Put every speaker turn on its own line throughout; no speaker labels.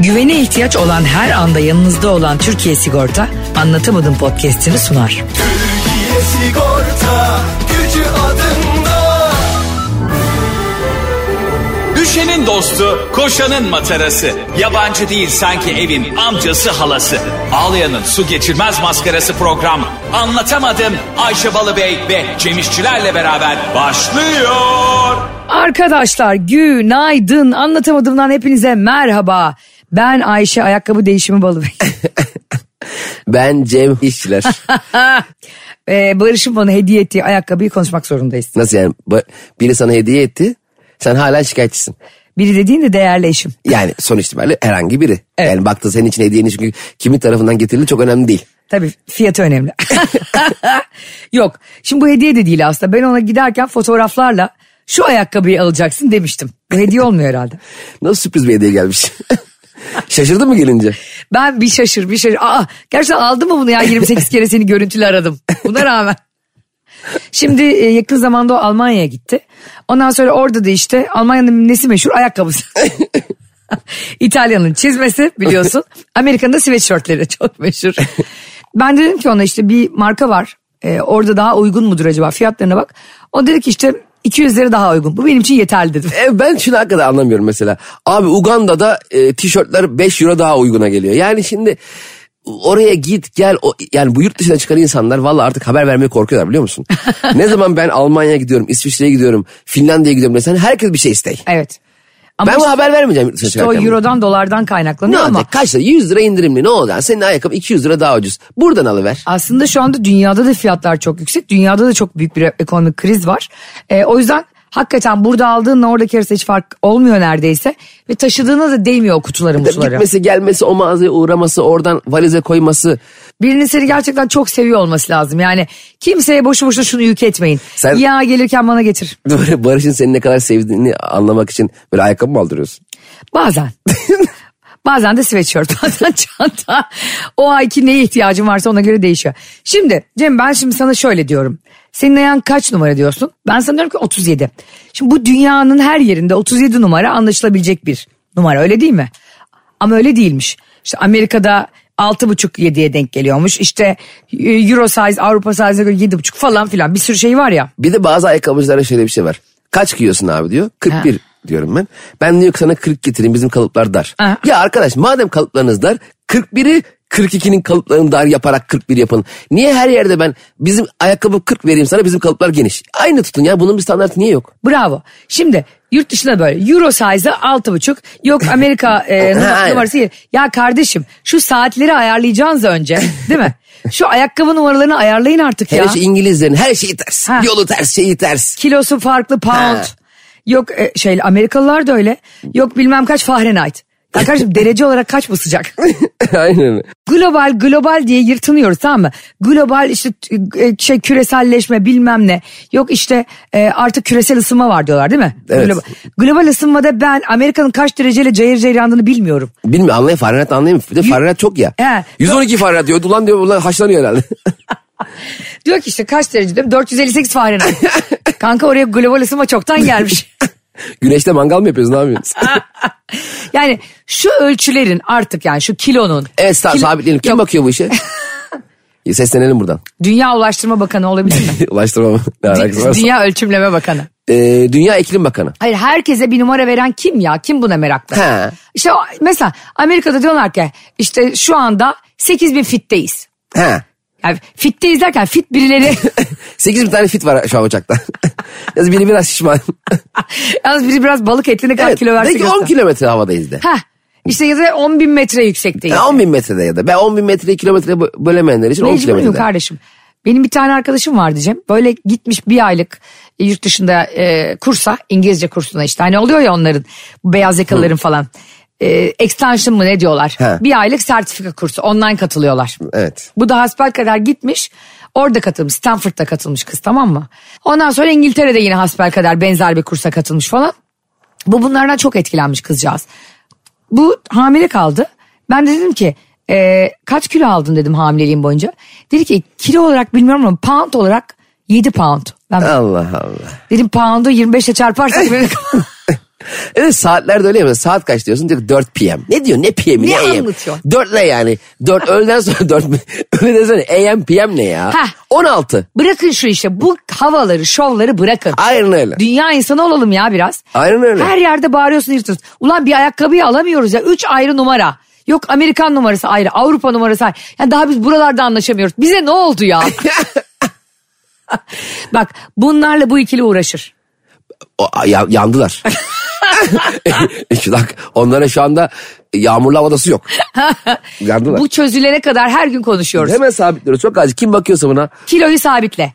Güvene ihtiyaç olan her anda yanınızda olan Türkiye Sigorta Anlatamadım podcast'ini sunar.
Türkiye Sigorta Gücü adında
Düşenin dostu, koşanın matarası. Yabancı değil sanki evin amcası halası. Ağlayanın su geçirmez maskarası program. Anlatamadım Ayşe Balıbey ve Cemişçilerle beraber başlıyor.
Arkadaşlar günaydın anlatamadığımdan hepinize merhaba. Ben Ayşe Ayakkabı Değişimi Balıbey.
Ben Cem İşçiler.
ee, Barış'ın bana hediye ettiği ayakkabıyı konuşmak zorundayız.
Nasıl yani? Ba- Biri sana hediye etti. Sen hala şikayetçisin.
Biri dediğin de değerli eşim.
Yani sonuç itibariyle herhangi biri.
Evet.
Yani baktın senin için hediyeni çünkü kimin tarafından getirildi çok önemli değil.
Tabii fiyatı önemli. Yok şimdi bu hediye de değil aslında. Ben ona giderken fotoğraflarla şu ayakkabıyı alacaksın demiştim. Bu hediye olmuyor herhalde.
Nasıl sürpriz bir hediye gelmiş. Şaşırdın mı gelince?
Ben bir şaşır bir şaşır. Aa, gerçekten aldı mı bunu ya 28 kere seni görüntülü aradım. Buna rağmen. Şimdi e, yakın zamanda o Almanya'ya gitti. Ondan sonra orada da işte Almanya'nın nesi meşhur? Ayakkabısı. İtalya'nın çizmesi biliyorsun. Amerika'nın da sweatshirtleri çok meşhur. Ben dedim ki ona işte bir marka var. E, orada daha uygun mudur acaba? Fiyatlarına bak. O dedi ki işte 200 lira daha uygun. Bu benim için yeterli dedim.
E, ben şunu hakikaten anlamıyorum mesela. Abi Uganda'da e, tişörtler 5 euro daha uyguna geliyor. Yani şimdi oraya git gel o, yani bu yurt dışına çıkan insanlar valla artık haber vermeye korkuyorlar biliyor musun? ne zaman ben Almanya'ya gidiyorum, İsviçre'ye gidiyorum, Finlandiya'ya gidiyorum desen herkes bir şey istey.
Evet. Ama
ben bu
işte-
haber vermeyeceğim yurt dışına
işte o
çıkarken.
eurodan dolardan kaynaklanıyor
Ne
ama.
olacak? Kaç lira? 100 lira indirimli ne olacak? Senin ayakkabı 200 lira daha ucuz. Buradan alıver.
Aslında şu anda dünyada da fiyatlar çok yüksek. Dünyada da çok büyük bir ekonomik kriz var. Ee, o yüzden hakikaten burada aldığınla oradaki arasında hiç fark olmuyor neredeyse. Ve taşıdığına da değmiyor o kutuları mutuları.
Gitmesi gelmesi o mağazaya uğraması oradan valize koyması.
Birinin seni gerçekten çok seviyor olması lazım. Yani kimseye boşu boşuna şunu yük etmeyin.
Sen-
Ya gelirken bana getir.
Böyle Barış'ın seni ne kadar sevdiğini anlamak için böyle ayakkabı mı aldırıyorsun?
Bazen. bazen de sweatshirt, bazen çanta. O ayki neye ihtiyacın varsa ona göre değişiyor. Şimdi Cem ben şimdi sana şöyle diyorum. Senin ayağın kaç numara diyorsun? Ben sana diyorum ki 37. Şimdi bu dünyanın her yerinde 37 numara anlaşılabilecek bir numara öyle değil mi? Ama öyle değilmiş. İşte Amerika'da 6,5-7'ye denk geliyormuş. İşte e, Euro size, Avrupa size'e göre 7,5 falan filan bir sürü şey var ya.
Bir de bazı ayakkabıcılara şöyle bir şey var. Kaç giyiyorsun abi diyor. 41
Ha.
diyorum ben. Ben diyor ki sana 40 getireyim bizim kalıplar dar.
Ha.
Ya arkadaş madem kalıplarınız dar 41'i 42'nin kalıplarını dar yaparak 41 yapın. Niye her yerde ben bizim ayakkabı 40 vereyim sana bizim kalıplar geniş. Aynı tutun ya bunun bir standartı niye yok?
Bravo. Şimdi yurt dışında böyle euro size'ı altı buçuk yok Amerika e, numara-
Aynen.
numarası yedi. Ya kardeşim şu saatleri ayarlayacaksınız önce değil mi? Şu ayakkabı numaralarını ayarlayın artık
Hele
ya.
şu şey İngilizlerin her şeyi ters.
Ha.
Yolu ters şeyi ters.
Kilosu farklı pound.
Ha.
Yok e, şey Amerikalılar da öyle. Yok bilmem kaç Fahrenheit. Ya kardeşim derece olarak kaç bu sıcak?
Aynen.
global global diye yırtınıyoruz tamam mı? Global işte e, şey küreselleşme bilmem ne. Yok işte e, artık küresel ısınma var diyorlar değil mi?
Evet.
Global, global ısınmada ben Amerika'nın kaç dereceyle cayır cayır yandığını bilmiyorum.
Bilmiyorum anlayın Fahrenheit anlayayım. Bir de Fahrenheit çok ya.
He.
112 Fahrenheit diyor. Ulan diyor bunlar haşlanıyor herhalde.
Diyor ki işte kaç derece diyorum 458 Fahrenheit. Kanka oraya global ısınma çoktan gelmiş.
Güneşte mangal mı yapıyorsun ne yapıyorsun?
yani şu ölçülerin artık yani şu kilonun.
evet sa-
Kilo-
sabitleyelim. Kim
Yok,
bakıyor bu işe? Seslenelim buradan.
Dünya Ulaştırma Bakanı olabilir mi?
Ulaştırma ne alakası varsa.
Dünya Ölçümleme Bakanı.
Ee, Dünya Eklim Bakanı.
Hayır herkese bir numara veren kim ya? Kim buna meraklı?
He.
İşte o- mesela Amerika'da diyorlar ki işte şu anda 8 bin fitteyiz.
He.
Yani fitteyiz derken fit birileri
8 bin tane fit var şu an uçakta. Yalnız biri biraz şişman.
yalnız biri biraz balık etini kaç
evet.
kilo verse
de ki 10
göster.
kilometre havadayız de.
Heh. İşte ya da 10 bin metre yüksekteyiz.
Yani 10 bin metrede ya da. Ben 10 bin metreyi kilometreye bö- bölemeyenler için 10
Mecbur muyum
kilometrede.
kardeşim? Benim bir tane arkadaşım vardı Cem. Böyle gitmiş bir aylık e, yurt dışında e, kursa İngilizce kursuna işte. Hani oluyor ya onların bu beyaz yakalıların falan. E, extension mı ne diyorlar?
He.
Bir aylık sertifika kursu online katılıyorlar.
Evet.
Bu da hasbelkader gitmiş. Orada katılmış. Stanford'da katılmış kız tamam mı? Ondan sonra İngiltere'de yine hasbelkader benzer bir kursa katılmış falan. Bu bunlardan çok etkilenmiş kızcağız. Bu hamile kaldı. Ben de dedim ki "E, kaç kilo aldın dedim hamileliğim boyunca. Dedi ki kilo olarak bilmiyorum ama pound olarak 7 pound. Ben
Allah Allah.
dedim pound'u 25 ile çarparsak böyle
Evet saatlerde öyle ya. Mesela Saat kaç diyorsun? Diyor ki 4 p.m. Ne diyor? Ne p.m.
Ne
ne a.m.
anlatıyorsun?
4 ne yani? 4 öğleden sonra 4 öğleden sonra a.m. p.m. ne ya?
Heh.
16.
Bırakın şu işte bu havaları şovları bırakın.
Aynen öyle.
Dünya insanı olalım ya biraz.
Aynen öyle.
Her yerde bağırıyorsun yırtıyorsun. Ulan bir ayakkabıyı alamıyoruz ya. Üç ayrı numara. Yok Amerikan numarası ayrı, Avrupa numarası ayrı. Yani daha biz buralarda anlaşamıyoruz. Bize ne oldu ya? Bak bunlarla bu ikili uğraşır.
O, a- ya- yandılar. Şu dakika, onlara şu anda yağmurlu hava odası yok. Yandılar.
Bu çözülene kadar her gün konuşuyoruz.
Hemen sabitliyoruz. Çok acil. Kim bakıyorsa buna
Kiloyu sabitle.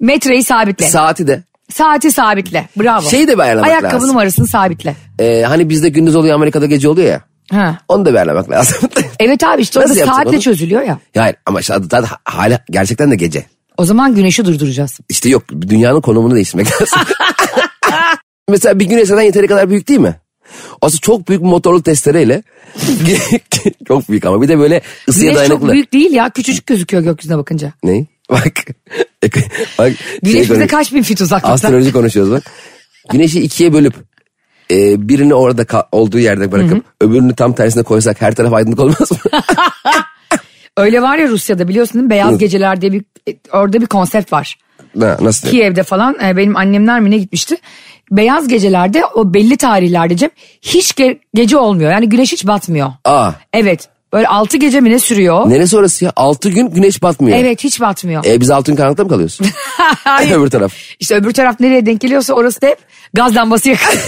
Metreyi sabitle.
saati de.
saati sabitle. Bravo.
Şeyi de bir ayarlamak
Ayakkabı
lazım.
numarasını sabitle.
Ee, hani bizde gündüz oluyor Amerika'da gece oluyor ya.
Ha.
Onu da bir ayarlamak lazım.
Evet abi işte o da
Nasıl yapacak
saatle
onu?
çözülüyor ya.
Ya Hayır ama işte zaten ha- hala gerçekten de gece.
O zaman güneşi durduracağız.
İşte yok dünyanın konumunu değiştirmek lazım. Mesela bir güneş zaten yeteri kadar büyük değil mi? Aslında çok büyük bir motorlu testereyle. çok büyük ama bir de böyle ısıya
Güneş çok
dayanıklı.
büyük değil ya. Küçücük gözüküyor gökyüzüne bakınca.
Ne? Bak. bak
Güneş bize
konuş-
kaç bin fit uzaklıkta?
Astroloji konuşuyoruz bak. Güneşi ikiye bölüp e, birini orada ka- olduğu yerde bırakıp öbürünü tam tersine koysak her taraf aydınlık olmaz mı?
Öyle var ya Rusya'da biliyorsun değil mi? Beyaz Geceler diye bir e, orada bir konsept var.
Ha, Nasıl? diyeyim?
Kiev'de falan e, benim annemler mi ne gitmişti. Beyaz gecelerde o belli tarihlerde Cem hiç ge- gece olmuyor. Yani güneş hiç batmıyor.
Aa.
Evet. Böyle 6 gece mi ne sürüyor?
Neresi orası ya? Altı gün güneş batmıyor.
Evet hiç batmıyor.
E, biz altı gün karanlıkta mı kalıyoruz? Öbür taraf.
İşte öbür taraf nereye denk geliyorsa orası da hep gaz lambası yakıyor.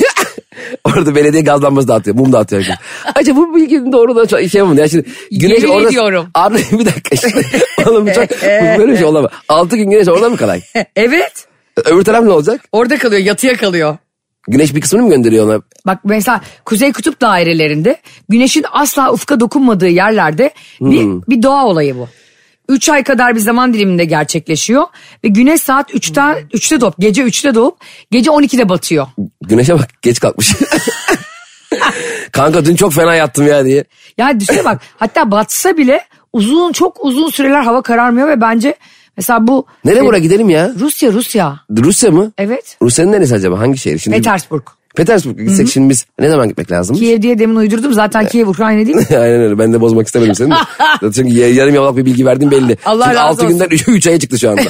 Orada belediye gaz lambası dağıtıyor. Mum dağıtıyor. herkes. Acaba bu bilginin doğru da çok şey mi? Ya şimdi güneş
Yemin
orada...
ediyorum.
Abi bir dakika. Şimdi, oğlum bu çok... bu böyle bir şey olamaz. Altı gün güneş orada mı kalay?
evet.
Öbür taraf ne olacak?
Orada kalıyor yatıya kalıyor.
Güneş bir kısmını mı gönderiyor ona?
Bak mesela Kuzey Kutup dairelerinde güneşin asla ufka dokunmadığı yerlerde bir,
Hmm.
bir doğa olayı bu. 3 ay kadar bir zaman diliminde gerçekleşiyor ve güneş saat 3'ten 3'te doğup gece 3'te doğup gece 12'de batıyor.
Güneşe bak geç kalkmış. Kanka dün çok fena yattım ya diye.
Yani düşüne bak hatta batsa bile uzun çok uzun süreler hava kararmıyor ve bence mesela bu
Nereye
e,
buraya gidelim ya?
Rusya Rusya
Rusya mı?
evet
Rusya'nın neresi acaba? Hangi şehir? Şimdi
Petersburg.
Petersburg gitsek şimdi biz ne zaman gitmek lazım?
Kiev diye demin uydurdum
E,
zaten Kiev Ukrayna değil mi?
Aynen öyle. Ben de bozmak istemedim seni. de. Zaten Çünkü ya- yarım yamalak bir bilgi verdim belli.
Allah
Çünkü
razı
6 günden 3 aya çıktı şu anda.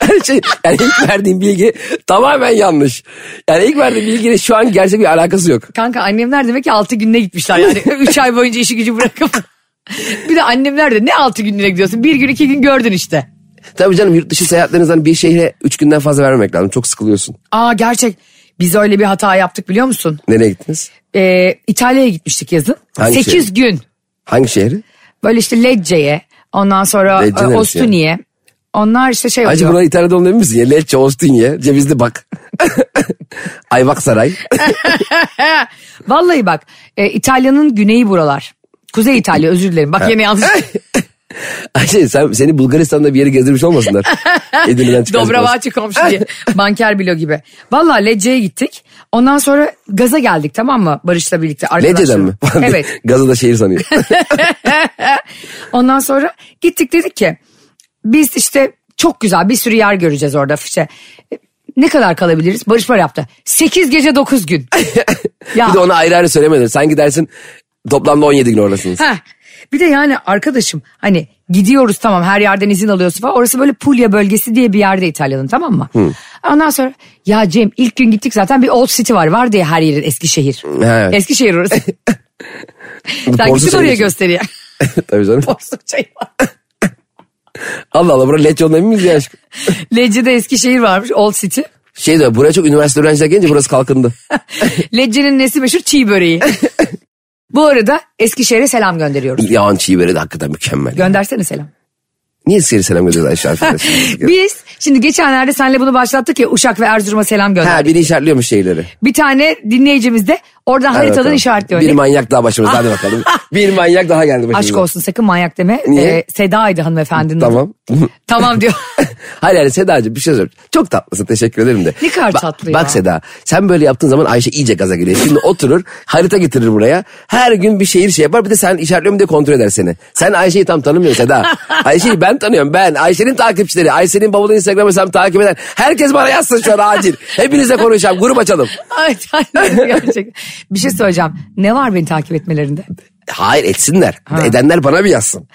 Her şey, yani ilk verdiğim bilgi tamamen yanlış. Yani ilk verdiğim bilgiyle şu an gerçek bir alakası yok.
Kanka annemler demek ki 6 gününe gitmişler yani. 3 ay boyunca işi gücü bırakıp. bir de annemler de ne 6 günlüğüne gidiyorsun? Bir gün iki gün gördün işte.
Tabii canım yurt dışı seyahatlerinizden bir şehre 3 günden fazla vermemek lazım. Çok sıkılıyorsun.
Aa gerçek. Biz öyle bir hata yaptık biliyor musun?
Nereye gittiniz?
Ee, İtalya'ya gitmiştik yazın.
Hangi
8
şehir?
gün.
Hangi şehri?
Böyle işte Lecce'ye. Ondan sonra e,
Lecce neresi
Ostuni'ye. Onlar işte şey oluyor.
Acaba bunlar İtalya'da olduğunu emin misin? Ya Lecce, Ostinye, Cevizli Bak. Ayvak Saray.
Vallahi bak e, İtalya'nın güneyi buralar. Kuzey İtalya özür dilerim. Bak yine yanlış.
Ayşe Şey, sen, seni Bulgaristan'da bir yere gezdirmiş olmasınlar. Edirne'den çıkarsın.
Dobrovaçı komşu diye. Banker bilo gibi. Valla Lecce'ye gittik. Ondan sonra gaza geldik tamam mı? Barış'la birlikte arkadaşlar.
Lece'den mi?
Evet.
Gazı da şehir sanıyor.
Ondan sonra gittik dedik ki biz işte çok güzel bir sürü yer göreceğiz orada işte. Ne kadar kalabiliriz? Barış var yaptı. 8 gece 9 gün. ya.
Bir de ona ayrı ayrı söylemedin. Sanki dersin toplamda 17 gün oradasınız.
Heh. Bir de yani arkadaşım hani gidiyoruz tamam her yerden izin alıyorsun falan. Orası böyle Puglia bölgesi diye bir yerde İtalya'nın tamam mı? Ondan sonra ya Cem ilk gün gittik zaten bir Old City var. Var diye her yerin Eskişehir.
Evet.
Eskişehir orası. Sen
Porsu
gittin oraya
söylüyorsun.
gösteriyor.
Tabii canım.
Porsu çayı var.
Allah Allah buraya Lecce olma emin miyiz ya aşkım?
Lecce'de Eskişehir varmış Old City.
Şey diyor buraya çok üniversite öğrenciler gelince burası kalkındı.
Lecce'nin nesi meşhur çiğ böreği. Bu arada Eskişehir'e selam gönderiyoruz.
Yavan çiğ böreği de hakikaten mükemmel.
Göndersene selam.
Niye seri selam gönderiyoruz Ayşe arkadaşlar?
Biz şimdi geçenlerde senle bunu başlattık ya Uşak ve Erzurum'a selam gönderdik.
ha biri işaretliyormuş şeyleri.
Bir tane dinleyicimiz de Oradan
Hadi
haritadan
bakalım.
işaretliyor.
Bir
Ne-
manyak daha başımızda hadi bakalım. Bir manyak daha geldi başımıza.
Aşk olsun sakın manyak deme. Ee,
Niye?
Seda'ydı hanımefendinin adı.
Tamam.
Tamam diyor.
Hayır hayır Sedacığım bir şey söyleyeceğim. Çok tatlısın teşekkür ederim de.
Ne kadar
Bak-
tatlı ya.
Bak Seda sen böyle yaptığın zaman Ayşe iyice gaza geliyor. Şimdi oturur harita getirir buraya. Her gün bir şehir şey yapar bir de sen işaretliyorum diye kontrol eder seni. Sen Ayşe'yi tam tanımıyorsun Seda. Ayşe'yi ben tanıyorum ben. Ayşe'nin takipçileri. Ayşe'nin babalı Instagram hesabını takip eden. Herkes bana yazsın şu an acil. Hepinize konuşacağım grup açalım.
Ay tanrım gerçekten. Bir şey söyleyeceğim. Ne var beni takip etmelerinde?
Hayır etsinler. Edenler bana bir yazsın.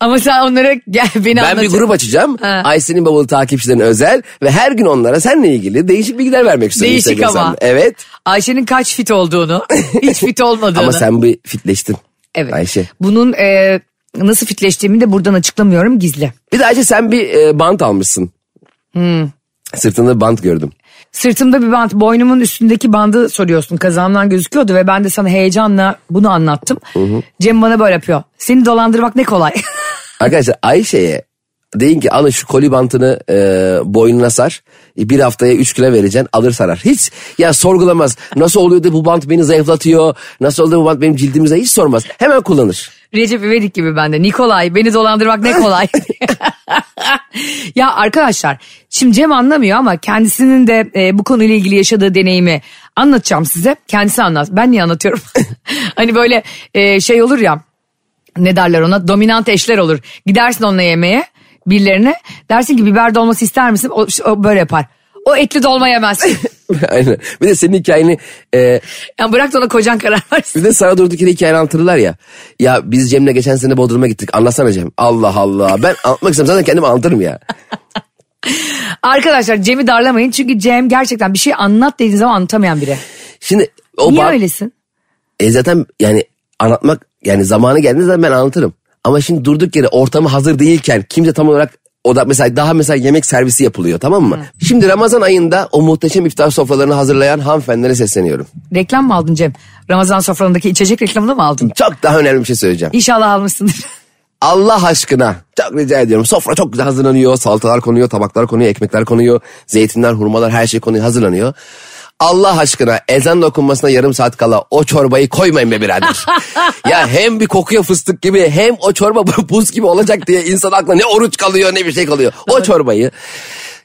Ama sen onlara gel beni
Ben
anlat.
bir grup açacağım.
Ha.
Ayşe'nin babalı takipçilerine özel ve her gün onlara seninle ilgili değişik bilgiler vermek istiyorum.
Değişik
Instagram
ama.
hesabımda. Evet.
Ayşe'nin kaç fit olduğunu, hiç fit olmadığını.
Ama sen bir fitleştin.
evet.
Ayşe.
Bunun e, nasıl fitleştiğimi de buradan açıklamıyorum gizli.
Bir de Ayşe sen bir e, bant almışsın.
Hmm.
Sırtında bant gördüm.
Sırtımda bir bant, boynumun üstündeki bandı soruyorsun. Kazağımdan gözüküyordu ve ben de sana heyecanla bunu anlattım. Cem bana böyle yapıyor. Seni dolandırmak ne kolay.
Arkadaşlar Ayşe'ye deyin ki alın şu koli bantını e, boynuna sar. E, Bir haftaya 3 kilo vereceksin alır sarar. Hiç ya sorgulamaz. Nasıl oluyor da bu bant beni zayıflatıyor. Nasıl oluyor da bu bant benim cildimize hiç sormaz. Hemen kullanır.
Recep İvedik gibi bende. Nikolay beni dolandırmak ne kolay. ya arkadaşlar şimdi Cem anlamıyor ama kendisinin de e, bu konuyla ilgili yaşadığı deneyimi anlatacağım size. Kendisi anlat. Ben niye anlatıyorum? hani böyle e, şey olur ya ne derler ona dominant eşler olur. Gidersin onunla yemeğe birilerine dersin ki biber dolması ister misin? O, o böyle yapar. O etli dolma yemez.
Aynen. Bir de senin hikayeni e,
yani bırak da ona kocan karar versin.
Bir de sana durduk yere hikayeni anlatırlar ya. Ya biz Cem'le geçen sene Bodrum'a gittik. Anlatsana Cem. Allah Allah. Ben anlatmak istem zaten kendim anlatırım ya.
Arkadaşlar Cem'i darlamayın çünkü Cem gerçekten bir şey anlat dediğin zaman anlatamayan biri.
Şimdi o
Niye
bar-
öylesin?
E zaten yani anlatmak yani zamanı geldiğinde zaten ben anlatırım. Ama şimdi durduk yere ortamı hazır değilken kimse tam olarak o da mesela daha mesela yemek servisi yapılıyor tamam mı? Şimdi Ramazan ayında o muhteşem iftar sofralarını hazırlayan hanımefendilere sesleniyorum.
Reklam mı aldın Cem? Ramazan sofralarındaki içecek reklamını mı aldın?
Çok daha önemli bir şey söyleyeceğim.
İnşallah almışsındır.
Allah aşkına çok rica ediyorum. Sofra çok güzel hazırlanıyor. Salatalar konuyor, tabaklar konuyor, ekmekler konuyor. Zeytinler, hurmalar her şey konuyor, hazırlanıyor. Allah aşkına ezan okunmasına yarım saat kala o çorbayı koymayın be birader. ya hem bir kokuyor fıstık gibi hem o çorba buz gibi olacak diye insan aklına ne oruç kalıyor ne bir şey kalıyor. O çorbayı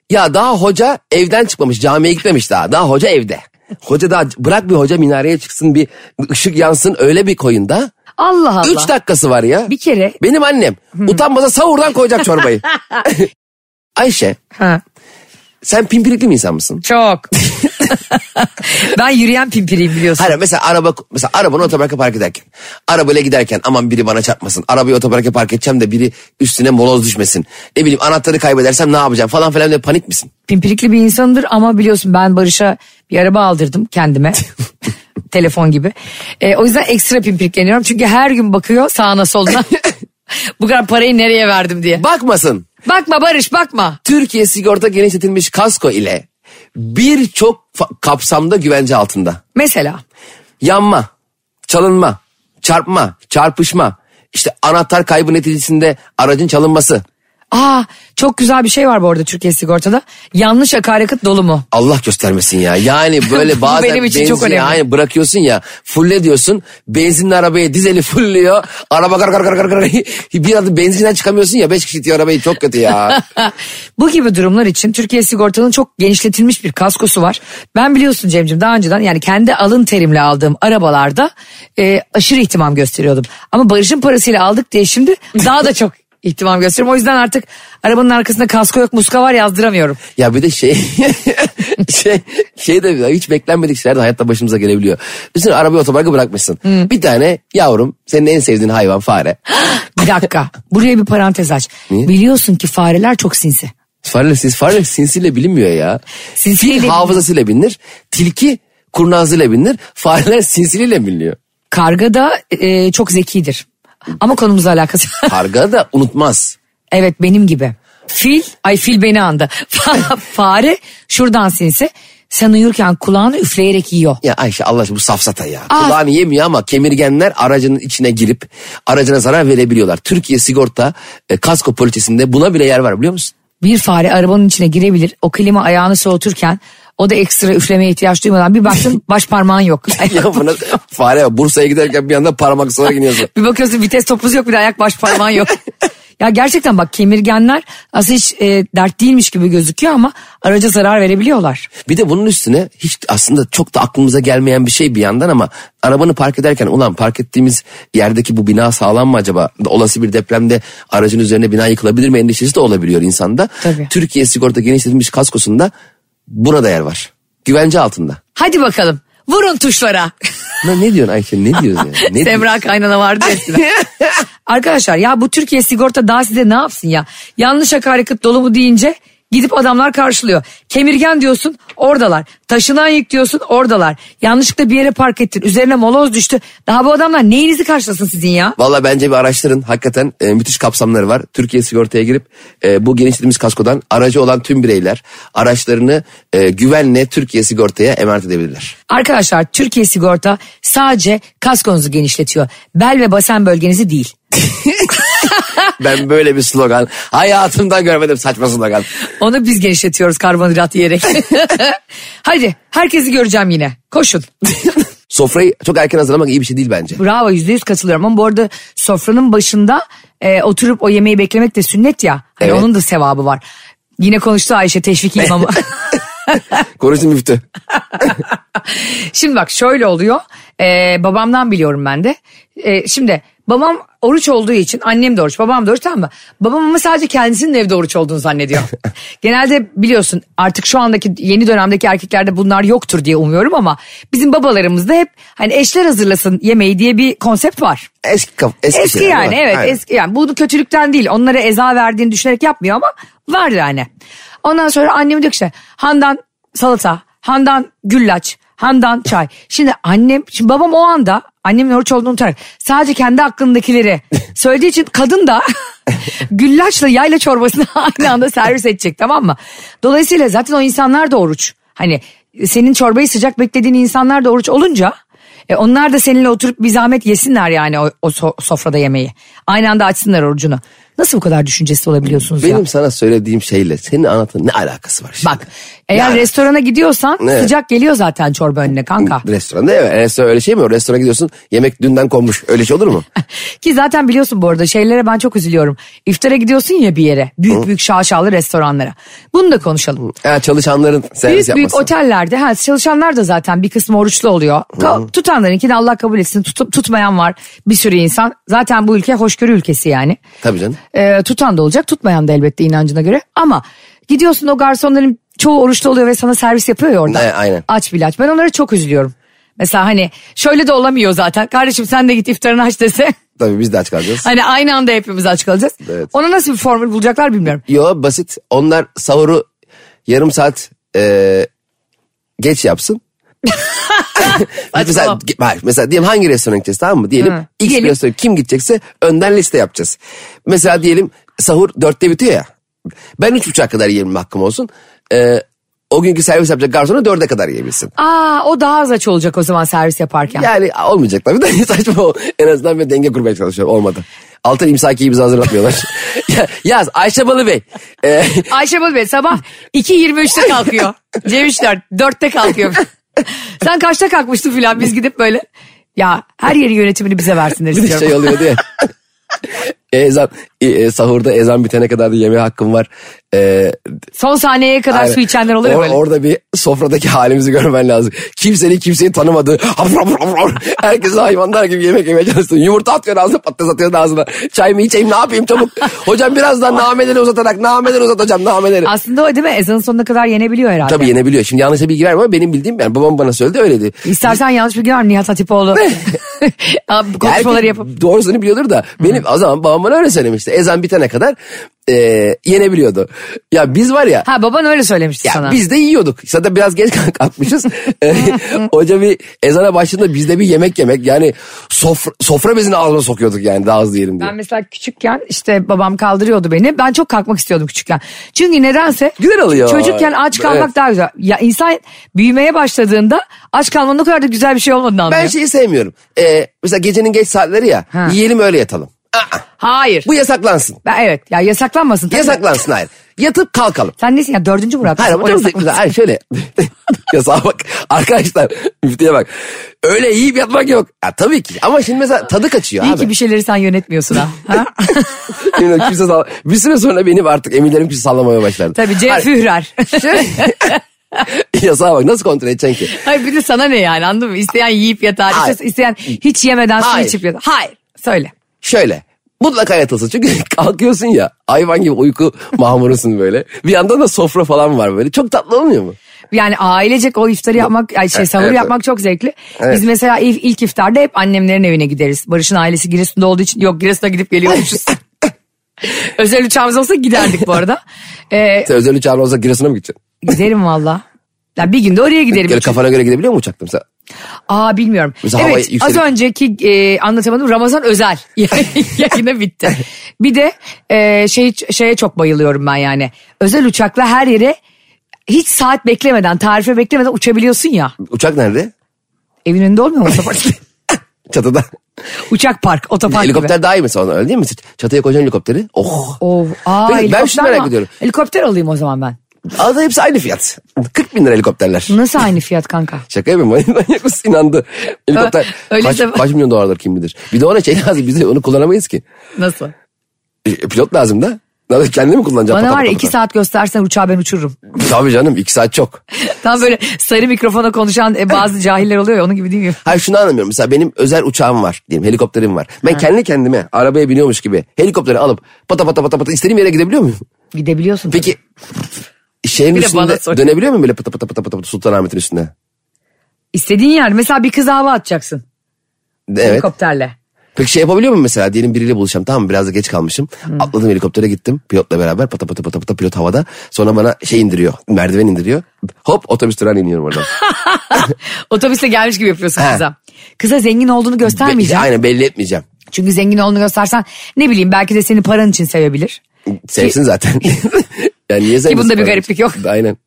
ya daha hoca evden çıkmamış camiye gitmemiş daha. Daha hoca evde. Hoca daha bırak bir hoca minareye çıksın bir ışık yansın öyle bir koyunda.
Allah Allah.
Üç dakikası var ya.
Bir kere.
Benim annem utanmasa savurdan koyacak çorbayı. Ayşe
Ha,
sen pimpirikli bir insan mısın?
çok. ben yürüyen pimpiriyim biliyorsun.
Hayır mesela araba mesela arabanı otoparka park ederken arabayla giderken aman biri bana çarpmasın arabayı otoparka park edeceğim de biri üstüne moloz düşmesin ne bileyim anahtarı kaybedersem ne yapacağım falan filan diye panik misin?
Pimpirikli bir insandır ama biliyorsun ben Barış'a bir araba aldırdım kendime. Telefon gibi. E, o yüzden ekstra pimpirikleniyorum. Çünkü her gün bakıyor sağına soluna. Bu kadar parayı nereye verdim diye.
Bakmasın
Bakma Barış bakma.
Türkiye sigorta genişletilmiş kasko ile birçok fa- kapsamda güvence altında.
Mesela.
yanma, çalınma, çarpma, çarpışma, işte anahtar kaybı neticesinde aracın çalınması.
Aa çok güzel bir şey var bu arada Türkiye sigortada. Yanlış akaryakıt dolumu.
Allah göstermesin ya. Yani böyle
Bu
bazen
benim için çok
benzin-
önemli.
yani bırakıyorsun ya. Fulle diyorsun. Benzinli arabaya dizeli fulluyor. Araba kar kar kar kar kar. Bir anda benzinden çıkamıyorsun ya. Beş kişi itiyor arabayı çok kötü ya.
Bu gibi durumlar için Türkiye Sigortalı'nın çok genişletilmiş bir kaskosu var. Ben biliyorsun Cem'ciğim daha önceden yani kendi alın terimle aldığım arabalarda e, aşırı ihtimam gösteriyordum. Ama Barış'ın parasıyla aldık diye şimdi daha da çok ihtimam gösteriyorum. O yüzden artık arabanın arkasında kasko yok muska var yazdıramıyorum.
Ya bir de şey şey şey de bir- hiç beklenmedik şeyler de hayatta başımıza gelebiliyor. Üstüne arabayı otoparka bırakmışsın. Bir tane yavrum senin en sevdiğin hayvan fare.
Bir dakika buraya bir parantez aç. Biliyorsun ki fareler çok sinsi.
Farla, siz, farla sinsiyle bilinmiyor ya.
Sinsiyle
Fil
bilin-
hafızasıyla bilinir. Tilki kurnazıyla bilinir. Fareler sinsiliyle biliniyor.
Karga da e, çok zekidir. Ama konumuzla alakası.
Karga da unutmaz.
Evet benim gibi. Fil, ay fil beni andı. Fare şuradan sinsi. Sen uyurken kulağını üfleyerek yiyor.
Ya Ayşe Allah aşkına bu safsata ya.
Ah.
Kulağını yemiyor ama kemirgenler aracının içine girip aracına zarar verebiliyorlar. Türkiye sigorta e, kasko poliçesinde buna bile yer var biliyor musun?
Bir fare arabanın içine girebilir. O klima ayağını soğuturken o da ekstra üflemeye ihtiyaç duymadan bir baktın baş parmağın yok.
Ya buna fare ya, Bursa'ya giderken bir anda parmak sağa iniyorsun.
Bir bakıyorsun vites topuzu yok bir de ayak baş parmağın yok. ya gerçekten bak kemirgenler aslında hiç e, dert değilmiş gibi gözüküyor ama araca zarar verebiliyorlar.
Bir de bunun üstüne hiç aslında çok da aklımıza gelmeyen bir şey bir yandan ama arabanı park ederken ulan park ettiğimiz yerdeki bu bina sağlam mı acaba? Olası bir depremde aracın üzerine bina yıkılabilir mi endişesi de olabiliyor insanda.
Tabii.
Türkiye sigorta genişletilmiş kaskosunda burada yer var. Güvence altında.
Hadi bakalım vurun tuşlara.
Ne, ne diyorsun Ayşe ne diyorsun yani? Ne
Semra kaynana vardı eskiden. Arkadaşlar ya bu Türkiye sigorta daha size ne yapsın ya? Yanlış akaryakıt dolumu deyince gidip adamlar karşılıyor. Kemirgen diyorsun oradalar. Taşınan yük diyorsun oradalar. Yanlışlıkla bir yere park ettin. Üzerine moloz düştü. Daha bu adamlar neyinizi karşılasın sizin ya?
Valla bence bir araştırın. Hakikaten e, müthiş kapsamları var. Türkiye sigortaya girip e, bu genişlediğimiz kaskodan aracı olan tüm bireyler araçlarını e, güvenle Türkiye sigortaya emanet edebilirler.
Arkadaşlar Türkiye sigorta sadece kaskonuzu genişletiyor. Bel ve basen bölgenizi değil.
Ben böyle bir slogan hayatımda görmedim saçma slogan.
Onu biz genişletiyoruz karbonhidrat yiyerek. Hadi herkesi göreceğim yine. Koşun.
Sofrayı çok erken hazırlamak iyi bir şey değil bence.
Bravo yüzde yüz katılıyorum ama bu arada sofranın başında e, oturup o yemeği beklemek de sünnet ya. Hani
Evet.
Onun da sevabı var. Yine konuştu Ayşe Teşvik İmamı.
Konuştum müftü.
şimdi bak şöyle oluyor. E, babamdan biliyorum ben de. E, şimdi babam oruç olduğu için annem de oruç babam da oruç tamam mı? Babam ama sadece kendisinin evde oruç olduğunu zannediyor. Genelde biliyorsun artık şu andaki yeni dönemdeki erkeklerde bunlar yoktur diye umuyorum ama bizim babalarımızda hep hani eşler hazırlasın yemeği diye bir konsept var.
Eski, kaf- eski,
Eski
şeyler,
yani
değil mi?
evet
Aynen.
eski yani bu kötülükten değil onlara eza verdiğini düşünerek yapmıyor ama var yani. Ondan sonra annem diyor ki işte handan salata, handan güllaç, handan çay. Şimdi annem şimdi babam o anda annemin oruç olduğunu unutarak sadece kendi aklındakileri söylediği için kadın da güllaçla yayla çorbasını aynı anda servis edecek tamam mı? Dolayısıyla zaten o insanlar da oruç. Hani senin çorbayı sıcak beklediğin insanlar da oruç olunca e onlar da seninle oturup bir zahmet yesinler yani o, o so- sofrada yemeği. Aynı anda açsınlar orucunu. Nasıl bu kadar düşüncesiz olabiliyorsunuz ya?
Benim sana söylediğim şeyle senin anlatın ne alakası var şimdi?
Bak eğer
Yani-
restorana gidiyorsan
Evet.
sıcak geliyor zaten çorba önüne kanka.
Restoranda evet. Restoran öyle şey mi? Restorana gidiyorsun yemek dünden konmuş. Öyle şey olur mu?
Ki zaten biliyorsun bu arada şeylere ben çok üzülüyorum. İftara gidiyorsun ya bir yere büyük büyük şaşalı restoranlara. Bunu da konuşalım.
Ha, çalışanların servis
Büyük büyük
yapması.
otellerde ha, çalışanlar da zaten bir kısmı oruçlu oluyor. Ka- tutanlarınki de Allah kabul etsin tutup tutmayan var bir sürü insan. Zaten bu ülke hoşgörü ülkesi yani.
Tabii canım.
Ee, tutan da olacak tutmayan da elbette inancına göre ama gidiyorsun o garsonların çoğu oruçlu oluyor ve sana servis yapıyor ya orada.
Ne, aynen.
Aç bir aç ben onlara çok üzülüyorum. Mesela hani şöyle de olamıyor zaten kardeşim sen de git iftarını aç dese
Tabii biz de aç kalacağız.
hani aynı anda hepimiz aç kalacağız.
Evet.
Ona nasıl bir formül bulacaklar bilmiyorum.
Yo basit. Onlar sahuru yarım saat e, geç yapsın. mesela,
Saçmalama.
hayır, mesela diyelim hangi restorana gideceğiz tamam mı? Diyelim
Hı.
X bir
Diyelim.
restorana kim gidecekse önden liste yapacağız. Mesela diyelim sahur dörtte bitiyor ya. Ben üç buçuğa kadar yiyelim hakkım olsun. E, o günkü servis yapacak garsona dörde kadar yiyebilsin.
Aa o daha az aç olacak o zaman servis yaparken.
Yani olmayacak tabii de saçma o. En azından ben denge kurmaya çalışıyorum. Olmadı. Altın imsakiyi bize hazırlatmıyorlar. Ya- Yaz Ayşe Balı Bey. E,
Ayşe Balı Bey sabah 2.23'te kalkıyor. Cemişler 4'te kalkıyor. Sen kaçta kalkmıştın filan biz gidip böyle ya her yeri yönetimini bize versinler
Bir de
istiyorum.
şey oluyor diye. ezan e, e, sahurda ezan bitene kadar da yeme hakkım var. Ee,
Son saniyeye kadar
aynen.
su içenler olur ya
Or-
böyle.
Orada bir sofradaki halimizi görmen lazım. Kimsenin kimseyi tanımadığı. Herkes hayvanlar gibi yemek yemeye çalıştın. Yumurta atıyor ağzına patates atıyor ağzına. Çay mı içeyim ne yapayım çabuk. Hocam birazdan nameleri uzatarak nameleri uzat hocam nameleri.
Aslında o değil mi? Ezanın sonuna kadar yenebiliyor herhalde.
Tabii yenebiliyor. Şimdi yanlışa bilgi verme ama benim bildiğim yani babam bana söyledi öyleydi.
İstersen yanlış bilgi var Nihat Hatipoğlu. Abi bu konuşmaları
Herkes
yapıp.
Doğrusunu biliyordur da benim o zaman babam bana öyle söylemişti. Ezan bitene kadar e, yenebiliyordu. Ya biz var ya,
Ha baban öyle söylemişti
ya
sana.
biz de yiyorduk. Zaten biraz geç kalk- kalkmışız. E, Hoca bir ezana başladığında biz de bir yemek yemek yani sofra, sofra bezini ağzına sokuyorduk yani daha hızlı yiyelim diye.
Ben mesela küçükken işte babam kaldırıyordu beni. Ben çok kalkmak istiyordum küçükken. Çünkü nedense
Güzel oluyor.
çocukken aç kalmak
Evet.
daha güzel. Ya insan büyümeye başladığında aç kalmanın o kadar da güzel bir şey olmadığını anlıyor.
Ben şeyi sevmiyorum. E, mesela gecenin geç saatleri ya
Ha.
yiyelim öyle yatalım. Aa,
Hayır.
bu yasaklansın.
Ben- evet ya yasaklanmasın. tabii.
Yasaklansın hayır. Yatıp kalkalım.
Sen nesin ya dördüncü Murat?
Hayır ama
Oraya
çok
saklan-
zevkli. Hayır şöyle. Yasağa bak. Arkadaşlar müftüye bak. Öyle yiyip yatmak yok. Ya, tabii ki ama şimdi mesela tadı kaçıyor
İyi
abi.
ki bir şey- şeyleri sen yönetmiyorsun ha. ha?
Yemin ederim kimse sall- bir süre sonra benim artık eminlerim kimse sallamaya başladı.
Tabii C.
Hayır,
Führer.
Yasağa bak nasıl kontrol edeceksin ki?
Hayır bir de sana ne yani anladın mı? İsteyen yiyip yatar,
Hayır.
işte isteyen hiç yemeden su
Hayır.
içip yatar. Hayır. Söyle.
Şöyle mutlaka yatılsın. Çünkü kalkıyorsun ya hayvan gibi uyku mahmurusun böyle. Bir yandan da sofra falan var böyle. Çok tatlı olmuyor mu?
Yani ailecek o iftarı yapmak, ay şey
Evet,
sahur
evet.
yapmak çok zevkli.
Evet.
Biz mesela ilk, ilk iftarda hep annemlerin evine gideriz. Barış'ın ailesi Giresun'da olduğu için yok Giresun'a gidip geliyormuşuz. Özel uçağımız olsa giderdik bu arada. Ee,
Sen özel uçağın olsa Giresun'a mı gideceksin?
giderim valla. Ya bir günde oraya giderim.
Böyle kafana göre gidebiliyor mu uçakta mesela?
Aa bilmiyorum.
Mesela havaya
evet az
yükselip-
önceki e, anlatamadım Ramazan özel yayına bitti. Bir de e, şey şeye çok bayılıyorum ben yani. Özel uçakla her yere hiç saat beklemeden, tarife beklemeden uçabiliyorsun ya.
Uçak nerede?
Evin önünde olmuyor mu otopark?
Çatıda.
Uçak park, otopark
helikopter
gibi.
daha iyi mesela ona öyle değil mi? Çatıya koyacaksın helikopteri. Oh.
Of, aa,
Ben- ben
helikopter
şunu merak
ama-
ediyorum.
Helikopter alayım o zaman ben.
Arada hepsi aynı fiyat. 40 bin lira helikopterler.
Nasıl aynı fiyat kanka?
Şaka yapayım manyak mısın inandı. Helikopter
Ö- öyle
kaç,
de-
kaç milyon dolardır kim bilir. Bir de ona şey lazım biz de onu kullanamayız ki.
Nasıl?
E, pilot lazım da. Ne yapayım, Kendi mi kullanacağım?
Bana
Pata
var ya
pata
iki
pata.
saat göstersen uçağı ben uçururum.
Tabii canım iki saat çok.
Tam böyle sarı mikrofona konuşan e, bazı cahiller oluyor ya onun gibi değil mi?
Hayır şunu anlamıyorum. Mesela benim özel uçağım var diyelim helikopterim var. Ben kendi kendime arabaya biniyormuş gibi helikopteri alıp pata pata pata pata istediğim yere gidebiliyor muyum?
Gidebiliyorsun. tabii.
Peki şeyin
Bir de bana
üstünde
sor.
dönebiliyor muyum böyle pata pata pata pata pata Sultanahmet'in üstünde?
İstediğin yer. Mesela bir kıza hava atacaksın
Evet.
helikopterle.
Peki şey yapabiliyor muyum mesela diyelim biriyle buluşacağım tamam mı? biraz da geç kalmışım.
Hmm.
Atladım helikoptere gittim pilotla beraber pata pata pata pata pilot havada. Sonra bana şey indiriyor merdiven indiriyor. Hop otobüs durağına iniyorum oradan.
Otobüsle gelmiş gibi yapıyorsun
He.
kıza. Kıza zengin olduğunu
Be-
göstermeyeceksin.
Aynen belli etmeyeceğim.
Çünkü zengin olduğunu göstersen ne bileyim belki de seni paran için sevebilir.
Sevsin zaten. yani niye sevmesin?
bunda bir
bana?
gariplik yok.
Aynen.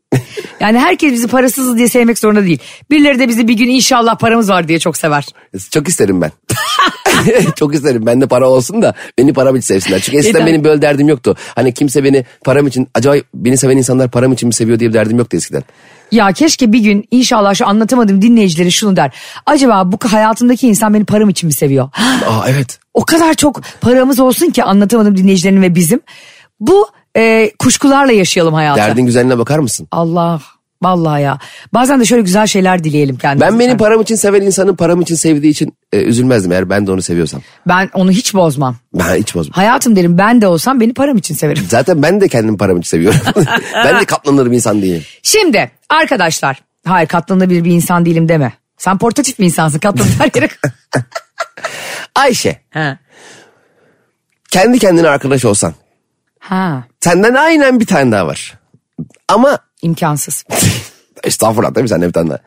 Yani herkes bizi parasızız diye sevmek zorunda değil. Birileri de bizi bir gün inşallah paramız var diye çok sever.
Çok isterim ben. Çok isterim. Bende para olsun da beni param için sevsinler. Çünkü eskiden
Neden?
benim böyle derdim yoktu. Hani kimse beni param için acaba beni seven insanlar param için mi seviyor diye bir derdim yoktu eskiden.
Ya keşke bir gün inşallah şu anlatamadım dinleyicileri şunu der. Acaba bu hayatımdaki insan beni param için mi seviyor?
Aa evet.
o kadar çok paramız olsun ki anlatamadım dinleyicilerin ve bizim. Bu e, kuşkularla yaşayalım hayatı.
Derdin güzelliğine bakar mısın?
Allah vallahi ya. Bazen de şöyle güzel şeyler dileyelim kendimize.
Ben benim param için seven insanın param için sevdiği için e, üzülmezdim eğer ben de onu seviyorsam.
Ben onu hiç bozmam.
Ben hiç bozmam.
Hayatım derim ben de olsam beni param için severim.
Zaten ben de kendimi param için seviyorum. ben de katlanır bir insan değilim.
Şimdi arkadaşlar. Hayır katlanabilir bir insan değilim deme. Sen portatif bir insansın katlanır her yere.
Ayşe
ha.
kendi kendine arkadaş olsan
ha
senden aynen bir tane daha var. Ama
imkansız.
Estağfurullah tabii sen de bir tane daha.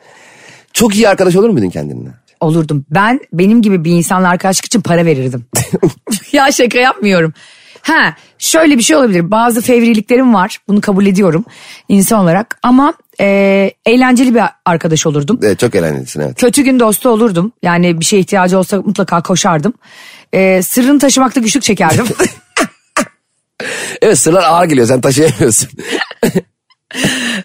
Çok iyi arkadaş olur muydun kendinle?
Olurdum. Ben benim gibi bir insanla arkadaşlık için para verirdim. ya şaka yapmıyorum. Ha şöyle bir şey olabilir. Bazı fevriliklerim var. Bunu kabul ediyorum insan olarak. Ama e, eğlenceli bir arkadaş olurdum.
Evet, E, çok eğlencelisin evet.
Kötü gün dostu olurdum. Yani bir şeye ihtiyacı olsa mutlaka koşardım. Ee, sırrını taşımakta güçlük çekerdim.
Evet sırlar ağır geliyor sen taşıyamıyorsun.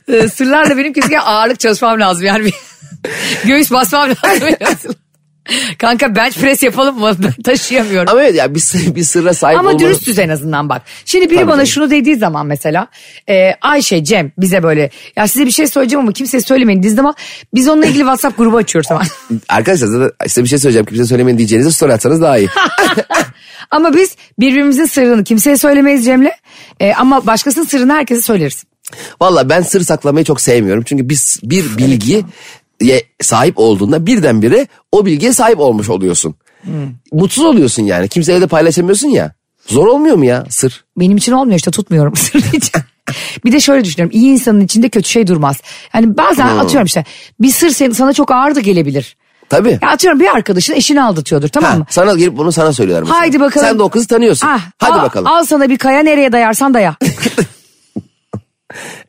Ee, Sırlarla benim kesinlikle ağırlık çalışmam lazım. Yani bir göğüs basmam lazım. Kanka bench press yapalım mı? Ben taşıyamıyorum.
Ama evet ya bir, sır- bir sırra sahip
Ama
olmanın-
dürüstüz en azından bak. Şimdi biri
Tabii
bana
canım.
şunu dediği zaman mesela e, Ayşe, Cem bize böyle ya size bir şey söyleyeceğim ama kimseye söylemeyin dediği zaman biz onunla ilgili WhatsApp grubu açıyoruz tamam.
Arkadaşlar zaten size bir şey söyleyeceğim kimse söylemeyin diyeceğinize story atsanız daha iyi.
ama biz birbirimizin sırrını kimseye söylemeyiz Cem'le E, ama başkasının sırrını herkese söyleriz.
Valla ben sır saklamayı çok sevmiyorum. Çünkü biz bir bilgiye sahip olduğunda birdenbire o bilgiye sahip olmuş oluyorsun.
Hmm.
Mutsuz oluyorsun yani kimseyle de paylaşamıyorsun ya. Zor olmuyor mu ya sır?
Benim için olmuyor işte tutmuyorum sırrını hiç. Bir de şöyle düşünüyorum iyi insanın içinde kötü şey durmaz. Yani bazen atıyorum işte bir sır sen- sana çok ağır da gelebilir.
Tabii.
Ya atıyorum bir arkadaşın eşini aldatıyordur tamam
Ha,
mı?
sana gelip bunu sana söylüyorlar. mesela.
Haydi bakalım.
Sen de o kızı tanıyorsun.
Ah,
Hadi
al-
bakalım.
Al sana bir kaya nereye dayarsan daya.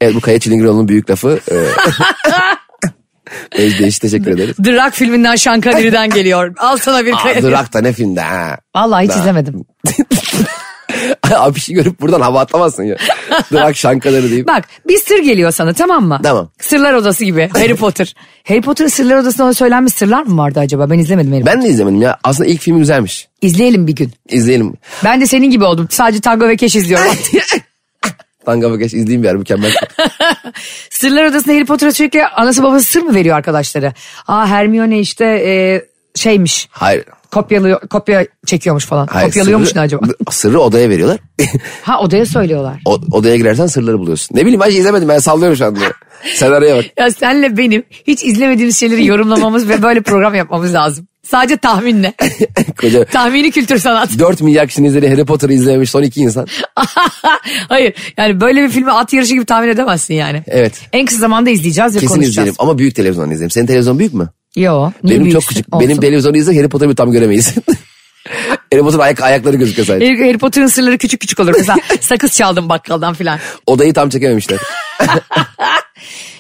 Evet bu Kaya Çilingiroğlu'nun büyük lafı. e, Özdeyiş teşekkür ederiz.
The Rock filminden Şankari'den geliyor. Al sana bir
Aa,
kaya.
The Rock da ne filmde ha.
Vallahi hiç
Da.
izlemedim.
Abişi şey görüp buradan hava atlamazsın ya. Durak şankaları deyip.
Bak bir sır geliyor sana tamam mı?
Tamam.
Sırlar odası gibi Harry Potter. Harry Potter'ın sırlar odasında ona söylenmiş sırlar mı vardı acaba? Ben izlemedim Harry
Ben de izlemedim ya. Aslında ilk film güzelmiş.
Potter. İzleyelim bir gün.
İzleyelim.
Ben de senin gibi oldum. Sadece Tango ve Keş izliyorum.
Tanga Bakaş izleyeyim bir yer mükemmel.
Sırlar Odası'nda Harry Potter'a sürekli anası babası sır mı veriyor arkadaşlara? Aa Hermione işte e, şeymiş.
Hayır.
Kopyalı, kopya çekiyormuş falan.
Hayır,
Kopyalıyormuş
sırrı-
ne acaba?
Sırrı odaya veriyorlar.
Ha odaya söylüyorlar.
O- odaya girersen sırları buluyorsun. Ne bileyim ben şey izlemedim ben sallıyorum şu anda. Senaryoya bak.
Ya senle benim hiç izlemediğimiz şeyleri yorumlamamız ve böyle program yapmamız lazım. Sadece tahminle.
Koca
Tahmini kültür sanat.
4 milyar kişinin izlediği Harry Potter'ı izlememiş son iki insan.
Hayır yani böyle bir filmi at yarışı gibi tahmin edemezsin yani.
Evet.
En kısa zamanda izleyeceğiz ve
Kesin
konuşacağız.
izleyelim ama büyük televizyondan izleyelim. Senin televizyon büyük mü?
Yo, niye
Benim çok
büyüksün?
küçük.
Olsun.
Benim televizyonu izle Harry Potter'ı tam göremeyiz. Harry Potter'ın ayak, ayakları gözüküyor sadece.
Harry, Harry Potter'ın sırları küçük küçük olur. Mesela sakız çaldım bakkaldan filan.
Odayı tam çekememişler.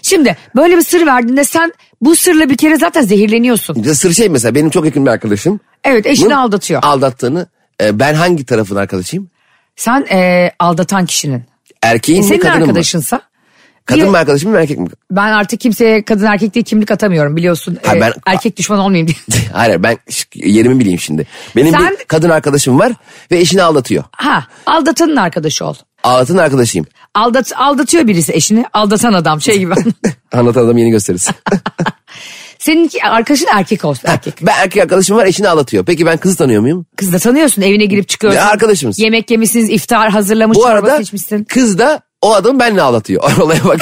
Şimdi böyle bir sır verdiğinde sen bu sırla bir kere zaten zehirleniyorsun.
Bir de sır şey mesela benim çok yakın bir arkadaşım.
Evet eşini
bunun
aldatıyor.
Aldattığını. e, ben hangi tarafın arkadaşıyım?
Sen eee, aldatan kişinin.
Erkeğin mi
E, Senin
kadının mı?
arkadaşınsa.
Kadın
Diye-
mı arkadaşım mı erkek mi?
Ben artık kimseye kadın erkek diye kimlik atamıyorum biliyorsun.
Ha,
Eee,
ben-
erkek düşman olmayayım diye.
Hayır hayır, ben ş- yerimi bileyim şimdi. Benim
Sen-
bir kadın arkadaşım var ve eşini aldatıyor.
ha aldatanın arkadaşı ol.
Aldatan arkadaşıyım.
Aldat, aldatıyor birisi eşini. Aldatan adam şey gibi.
Anlatan adam yeni gösteririz.
Seninki arkadaşın erkek olsun erkek.
ben erkek arkadaşım var eşini aldatıyor. Peki ben kızı tanıyor muyum?
Kız da tanıyorsun evine girip çıkıyorsun.
Ya, arkadaşımız.
Yemek yemişsiniz iftar hazırlamış.
Bu
çorba
arada
seçmişsin.
kız da o adamı benle ağlatıyor. Olaya bak.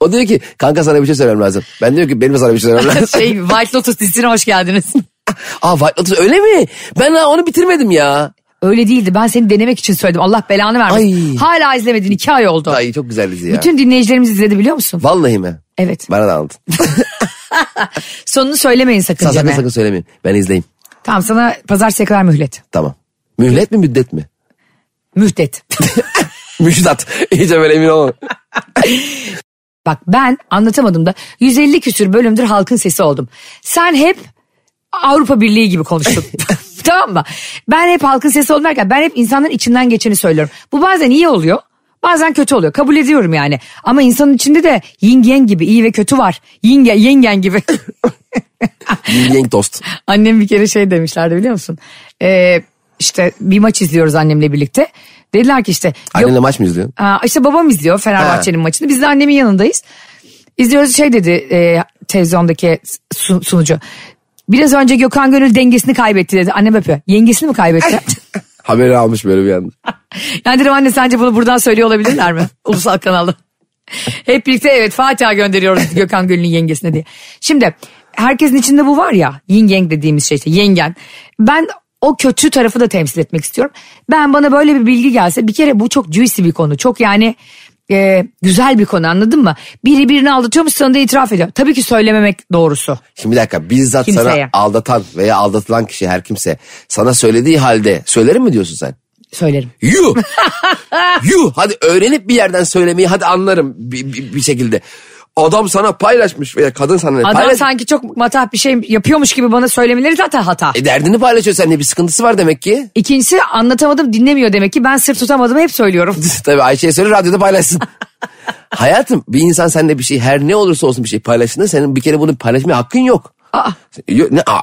o diyor ki kanka sana bir şey söylemem lazım. Ben diyor ki benim de sana bir şey söylemem lazım.
şey White Lotus dizisine hoş geldiniz.
Aa White Lotus öyle mi? Ben daha onu bitirmedim ya.
Öyle değildi. Ben seni denemek için söyledim. Allah belanı vermesin.
Ay.
Hala izlemedin. iki ay oldu.
Ay çok güzel dizi ya.
Bütün dinleyicilerimiz izledi biliyor musun?
Vallahi mi?
Evet.
Bana da aldın.
Sonunu söylemeyin sakın
Sen sakın
Cem'e.
sakın söylemeyin. Ben izleyeyim.
Tamam sana pazartesiye kadar mühlet.
Tamam. Mühlet mi müddet mi?
Mühlet.
Müjdat. İyice böyle emin olun.
Bak ben anlatamadım da 150 küsür bölümdür halkın sesi oldum. Sen hep Avrupa Birliği gibi konuştun. tamam mı? Ben hep halkın sesi oldum derken ben hep insanların içinden geçeni söylüyorum. Bu bazen iyi oluyor. Bazen kötü oluyor. Kabul ediyorum yani. Ama insanın içinde de yin yang gibi iyi ve kötü var. Yin yang, yin yang gibi.
Yeng tost.
Annem bir kere şey demişlerdi biliyor musun? Ee, işte bir maç izliyoruz annemle birlikte. Dediler ki işte yok,
Annenle maç mı izliyorsun?
Ha, işte babam izliyor Fenerbahçe'nin maçını. Biz de annemin yanındayız. İzliyoruz şey dedi e, televizyondaki sun- sunucu. Biraz önce Gökhan Gönül dengesini kaybetti dedi. Annem öpüyor. Yengesini mi kaybetti?
Haberi almış böyle bir anda.
yani dedim anne sence bunu buradan söylüyor olabilirler mi? Ulusal kanalda. Hep birlikte evet Fatiha gönderiyoruz Gökhan Gönül'ün yengesine diye. Şimdi herkesin içinde bu var ya yin yang dediğimiz şey işte yengen. Ben o kötü tarafı da temsil etmek istiyorum. Ben bana böyle bir bilgi gelse bir kere bu çok juicy bir konu. Çok yani e, güzel bir konu anladın mı? Biri birini aldatıyormuş sonunda itiraf ediyor. Tabii ki söylememek doğrusu.
Şimdi bir dakika bizzat
Kimseye.
sana aldatan veya aldatılan kişi her kimse sana söylediği halde söylerim mi diyorsun sen?
Söylerim.
Yuh! Yuh! Hadi öğrenip bir yerden söylemeyi hadi anlarım bir, bir, bir şekilde. Adam sana paylaşmış veya kadın sana ne
Adam
paylaş-
sanki çok matah bir şey yapıyormuş gibi bana söylemeleri zaten hata.
E derdini paylaşıyor seninle bir sıkıntısı var demek ki.
İkincisi anlatamadım dinlemiyor demek ki ben sır tutamadım hep söylüyorum.
Tabii Ayşe'ye söyle radyoda paylaşsın. Hayatım bir insan seninle bir şey her ne olursa olsun bir şey paylaştığında senin bir kere bunu paylaşmaya hakkın yok.
Aa.
Yok, ne aa.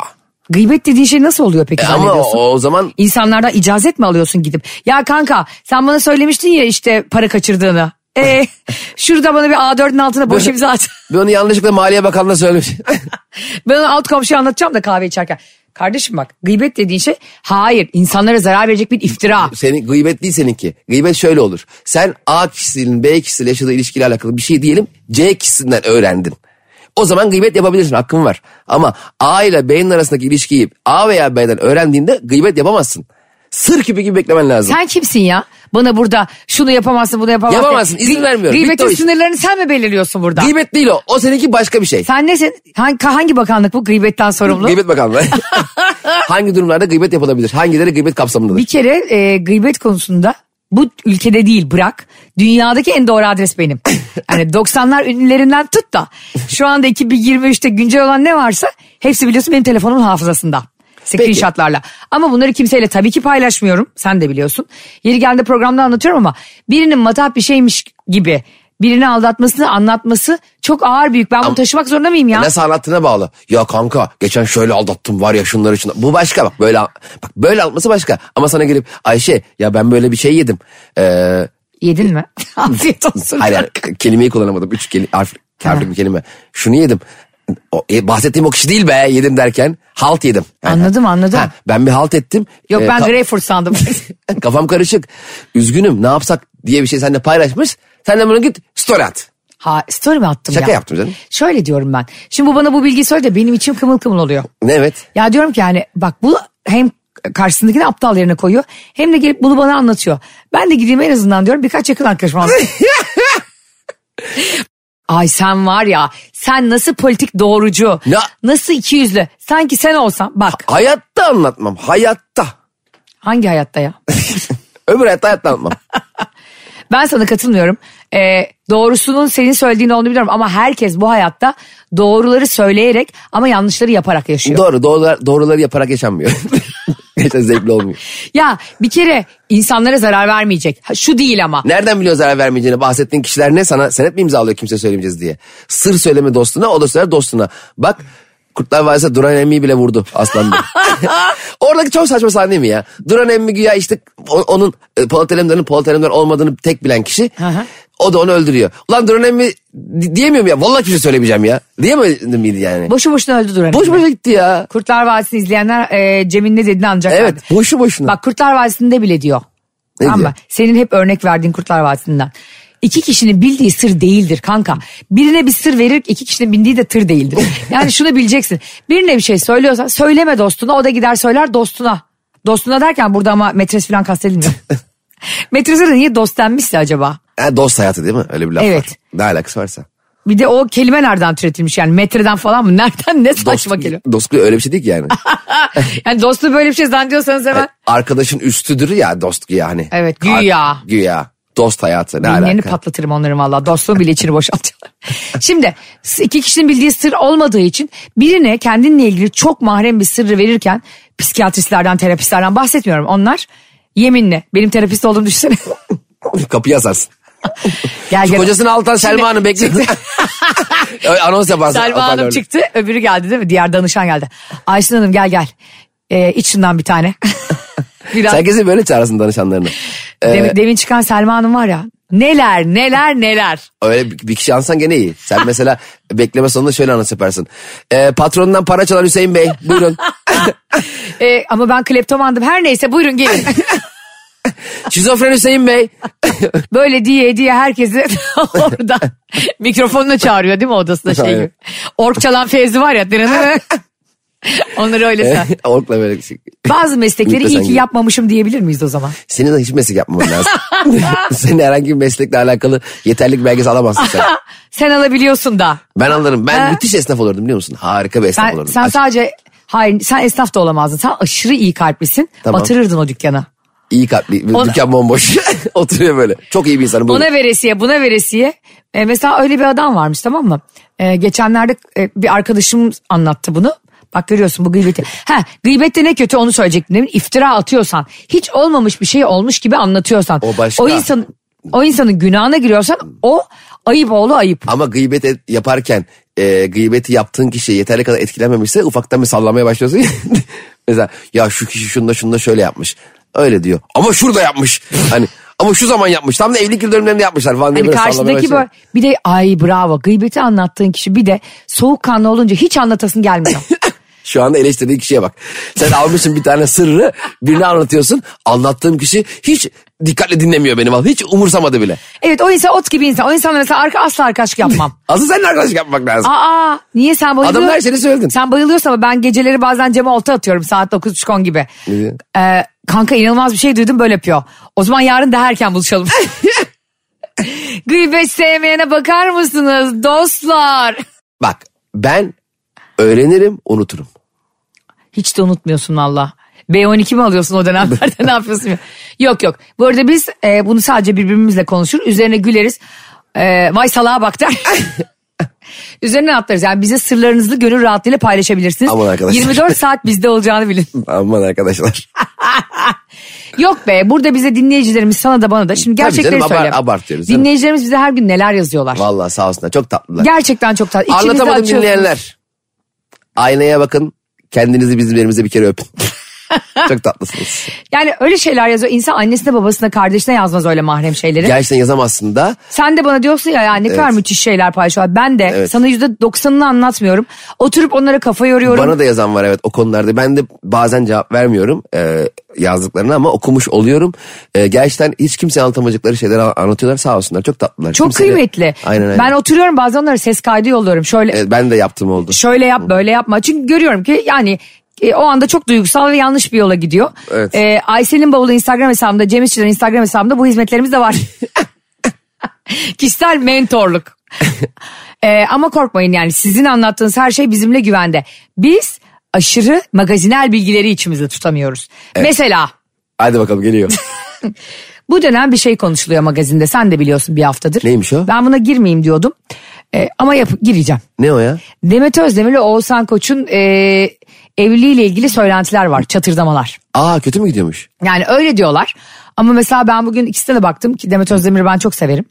Gıybet dediğin şey nasıl oluyor peki
E ama
zannediyorsun?
o, o zaman
İnsanlardan icazet mi alıyorsun gidip? Ya kanka sen bana söylemiştin ya işte para kaçırdığını. E, şurada bana bir A4'ün altına boş imza at.
ben onu yanlışlıkla Maliye Bakanı'na söylemiş.
Ben onu alt komşuya anlatacağım da kahve içerken. Kardeşim bak gıybet dediğin şey hayır insanlara zarar verecek bir iftira.
Senin gıybet değil seninki. Gıybet şöyle olur. Sen A kişisinin B kişisiyle yaşadığı ilişkiyle alakalı bir şey diyelim C kişisinden öğrendin. O zaman gıybet yapabilirsin hakkın var. Ama A ile B'nin arasındaki ilişkiyi A veya B'den öğrendiğinde gıybet yapamazsın. Sır küpü gibi beklemen lazım.
Sen kimsin ya? Bana burada şunu yapamazsın bunu yapamazsın.
Yapamazsın, izin
Gı-
vermiyorum. Bitti
Gıybetin
o iş.
sınırlarını sen mi belirliyorsun burada?
Gıybet değil o. O seninki başka bir şey.
sen nesin? Hangi, hangi bakanlık bu gıybetten sorumlu?
Gıybet bakanlığı. Hangi durumlarda gıybet yapılabilir? Hangileri gıybet kapsamındadır?
Bir kere e, gıybet konusunda bu ülkede değil bırak. Dünyadaki en doğru adres benim. Yani 90'lar ünlülerinden tut da şu anda 2023'te güncel olan ne varsa hepsi biliyorsun benim telefonumun hafızasında. Screenshotlarla. Ama bunları kimseyle tabii ki paylaşmıyorum. Sen de biliyorsun. Yeri geldi programda anlatıyorum ama birinin matah bir şeymiş gibi birini aldatmasını anlatması çok ağır büyük. Ben bunu taşımak zorunda mıyım ya?
Nasıl anlattığına bağlı. Ya kanka geçen şöyle aldattım var ya şunlar için. Bu başka bak böyle bak böyle anlatması başka. Ama sana gelip Ayşe ya ben böyle bir şey yedim. Ee,
Yedin mi? Afiyet olsun.
hayır, hayır, kelimeyi kullanamadım. Üç kelime, harf, harfli bir kelime. Şunu yedim. O, e, bahsettiğim o kişi değil be yedim derken halt yedim. Yani-
Anladım, anladım.
ben bir halt ettim.
Yok
Ee,
ben
ka-
greyfurt sandım.
Kafam karışık. Üzgünüm ne yapsak diye bir şey seninle paylaşmış. Sen de bunu git story at.
ha story mi attım ya?
Şaka yaptım canım.
Şöyle diyorum ben. Şimdi bu bana bu bilgiyi söyle de benim içim kımıl kımıl oluyor.
Evet.
Ya diyorum ki yani bak bu hem karşısındakini aptal yerine koyuyor hem de gelip bunu bana anlatıyor. Ben de gideyim en azından diyorum birkaç yakın arkadaşım anlatayım. Ay sen var ya sen nasıl politik doğrucu
Ya.
nasıl ikiyüzlü sanki sen olsan bak
Hayatta anlatmam. Hayatta.
hangi hayatta ya
Öbür hayatta hayatta anlatmam.
Ben sana katılmıyorum. Ee, doğrusunun senin söylediğin olduğunu biliyorum ama herkes bu hayatta doğruları söyleyerek ama yanlışları yaparak yaşıyor.
Doğru doğrular, doğruları yaparak yaşanmıyor. Geçen zevkli olmuyor.
ya bir kere insanlara zarar vermeyecek. Ha, Şu değil ama.
Nereden biliyor zarar vermeyeceğini bahsettiğin kişiler ne sana senet mi imzalıyor kimse söylemeyeceğiz diye. Sır söyleme dostuna o da söyler dostuna. Bak Kurtlar Vadisi'nde Duran Emmi'yi bile vurdu Aslan Bey. Oradaki çok saçma sahne mi ya? Duran Emmi güya işte o- onun e, Polat Alemdar'ın Polat Alemdar olmadığını tek bilen kişi.
hı.
o da onu öldürüyor. Ulan Duran Emmi di- diyemiyorum ya. Vallahi kimse söylemeyeceğim ya. Diyemedim miydi yani?
Boşu boşuna öldü Duran.
Boş boşa gitti ya.
Kurtlar Vadisi'ni izleyenler e, Cem'in ne dediğini anlayacaklar.
Evet boşu boşuna.
Bak Kurtlar Vadisi'nde bile diyor.
Ne
Tamam mı?
diyor?
Senin hep örnek verdiğin Kurtlar Vadisi'nden. İki kişinin bildiği sır değildir kanka. Birine bir sır verir iki kişinin bildiği de tır değildir. Yani şunu bileceksin. Birine bir şey söylüyorsan söyleme dostuna o da gider söyler dostuna. Dostuna derken burada ama metres falan kastedilmiyor. Metrese de niye dost denmişse acaba?
Ha, dost hayatı değil mi? Öyle bir laf
Evet.
var. Ne alakası varsa.
Bir de o kelime nereden türetilmiş yani metreden falan mı? Nereden ne saçma kelime?
dostluk öyle bir şey değil ki yani.
Yani dostu böyle bir şey zannediyorsanız hemen
Arkadaşın üstüdür ya dost güya hani.
Evet, güya.
Ar- güya. Dost hayatı ne
Beyinlerini
alaka?
patlatırım onların valla. Dostluğun bile içini boşaltıyorlar. Şimdi iki kişinin bildiği sır olmadığı için birine kendinle ilgili çok mahrem bir sırrı verirken psikiyatristlerden, terapistlerden bahsetmiyorum. Onlar yeminle benim terapist olduğumu düşünsene.
Kapıyı asarsın.
gel
Şu
gel.
kocasını altan Selma Hanım bekliyor. Öyle Anons yaparsın.
Selma Hanım
hoparlörle.
çıktı öbürü geldi değil mi? Diğer danışan geldi. Ayşin Hanım gel gel. Ee, iç şundan bir tane. Biraz
Sen kesin böyle çağırırsın danışanlarını. Ee,
demin, demin çıkan Selma Hanım var ya. Neler neler neler.
Öyle bir bir kişi ansan gene iyi. Sen mesela bekleme sonunda şöyle anons yaparsın. Ee, patronundan para çalan Hüseyin Bey buyurun.
Ee, ama ben kleptomandım. Her neyse buyurun gelin.
Şizofren Hüseyin Bey.
Böyle diye diye herkesi orada mikrofonla çağırıyor değil mi odasında şey gibi.
Aynen.
Ork çalan Fevzi var ya. Onları öyle sen.
Orkla böyle şey.
Bazı meslekleri iyi
Yüklesen
ki
gibi.
yapmamışım diyebilir miyiz o zaman?
Senin de hiç meslek yapmaman lazım. Senin herhangi bir meslekle alakalı yeterlik belgesi alamazsın sen.
Sen alabiliyorsun da.
Ben alırım. Ben
Ha?
müthiş esnaf olurdum biliyor musun? Harika bir esnaf
Sen,
olurdum.
sen
Aç-
sadece hayır sen esnaf da olamazdın. Sen aşırı iyi kalplisin.
Tamam.
Batırırdın o dükkanı.
İyi kalpli.
Ona-
Dükkan bomboş. Oturuyor böyle. Çok iyi bir insanım. Buyurun.
Ona veresiye buna veresiye. E, mesela öyle bir adam varmış tamam mı? E, geçenlerde e, bir arkadaşım anlattı bunu. Bak görüyorsun bu gıybeti. Ha gıybette ne kötü onu söyleyecektim demin. İftira atıyorsan hiç olmamış bir şey olmuş gibi anlatıyorsan.
O başka.
insan, o insanın günahına giriyorsan o ayıp oğlu ayıp.
Ama gıybet et- yaparken e, gıybeti yaptığın kişi yeterli kadar etkilenmemişse ufaktan bir sallamaya başlıyorsun. ya. Mesela ya şu kişi şunda şunda şöyle yapmış. Öyle diyor. Ama şurada yapmış. Hani ama şu zaman yapmış. Tam da evlilik yıl dönümlerinde yapmışlar falan diye
Hani
böyle sallamaya
karşıdaki
başlıyor.
böyle bir de ay bravo gıybeti anlattığın kişi bir de soğukkanlı olunca hiç anlatasın gelmiyor.
Şu anda eleştirdiğin kişiye bak. Sen almışsın bir tane sırrı birine anlatıyorsun. Anlattığım kişi hiç dikkatle dinlemiyor beni. vallahi. Hiç umursamadı bile.
evet o insan ot gibi insan. O insanla mesela arka, asla arkadaşlık yapmam.
Aslında seninle arkadaşlık yapmak lazım.
Aa niye sen bayılıyorsun?
Adamlar seni söyledin.
Sen bayılıyorsun ama ben geceleri bazen cama olta atıyorum saat 9.30 gibi.
Ne diyor?
Ee, kanka inanılmaz bir şey duydum böyle yapıyor. O zaman yarın daha erken buluşalım. Gıybet sevmeyene bakar mısınız dostlar?
Bak ben öğrenirim unuturum.
Hiç de unutmuyorsun valla. B12 mi alıyorsun o dönemlerde ne yapıyorsun? ya? Yok yok. Bu arada biz e, bunu sadece birbirimizle konuşur. Üzerine güleriz. E, vay salağa bak der. Üzerine atlarız. Yani bize sırlarınızı gönül rahatlığıyla paylaşabilirsiniz.
Aman arkadaşlar.
24 saat bizde olacağını bilin.
Aman arkadaşlar.
Yok be burada bize dinleyicilerimiz sana da bana da şimdi
Tabii
gerçekleri
canım, abart-
söyle.
abartıyoruz canım.
Dinleyicilerimiz bize her gün neler yazıyorlar.
Vallahi sağ olsunlar çok tatlılar.
Gerçekten çok tatlı. İçinizi
Anlatamadım
açıyorsunuz.
dinleyenler. Aynaya bakın. Kendinizi bizim yerimize bir kere öpün. çok tatlısınız.
Yani öyle şeyler yazıyor. İnsan annesine babasına kardeşine yazmaz öyle mahrem şeyleri.
Gerçekten yazamazsın da.
Sen de bana diyorsun ya, ya ne kadar müthiş şeyler paylaşıyorlar. Ben de
Evet.
sana yüzde doksanını anlatmıyorum. Oturup onlara kafa yoruyorum.
Bana da yazan var evet o konularda. Ben de bazen cevap vermiyorum e, yazdıklarına ama okumuş oluyorum. E, gerçekten hiç kimse anlatamayacakları şeyler an- anlatıyorlar sağ olsunlar. Çok tatlılar.
Çok
Kimse de-
kıymetli.
Aynen aynen.
Ben
Ben,
oturuyorum bazen onlara ses kaydı yolluyorum. Şöyle
ben de yaptım oldu.
şöyle yap böyle yapma. Çünkü görüyorum ki yani e, o anda çok duygusal ve yanlış bir yola gidiyor.
Evet.
Ee, Aysel'in bavulu Instagram hesabımda, Cem İşçilerin Instagram hesabımda bu hizmetlerimiz de var. Kişisel mentorluk. Ee, ama korkmayın yani sizin anlattığınız her şey bizimle güvende. Biz aşırı magazinel bilgileri içimizde tutamıyoruz. Mesela
Hadi bakalım geliyor.
bu dönem bir şey konuşuluyor magazinde sen de biliyorsun bir haftadır.
Neymiş o?
Ben buna girmeyeyim diyordum Ee, ama yap gireceğim.
ne o ya?
Demet Özdemir ile Oğuzhan Koç'un e, evliliğiyle ilgili söylentiler var, çatırdamalar.
Aa kötü mü gidiyormuş?
Yani öyle diyorlar. Ama mesela ben bugün ikisine de baktım ki Demet Özdemir'i ben çok severim.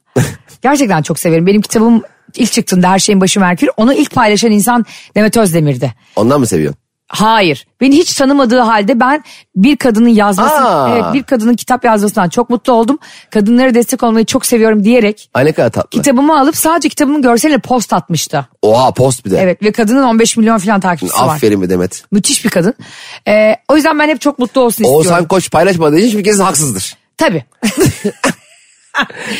Gerçekten çok severim. Benim kitabım ilk çıktığında Her Şeyin Başı Merkür. Onu ilk paylaşan insan Demet Özdemir'di.
Ondan mı seviyorsun?
Hayır. Beni hiç tanımadığı halde ben bir kadının yazması,
Aa.
evet, bir kadının kitap yazmasından çok mutlu oldum. Kadınlara destek olmayı çok seviyorum diyerek
Ay ne kadar tatlı.
kitabımı alıp sadece kitabımın görseline post atmıştı.
Oha post bir de.
Evet ve kadının 15 milyon falan takipçisi var.
Aferin bir Demet.
Müthiş bir kadın. Ee, o yüzden ben hep çok mutlu olsun istiyorum.
Oğuzhan Koç paylaşmadığı için hiçbir kez haksızdır.
Tabii.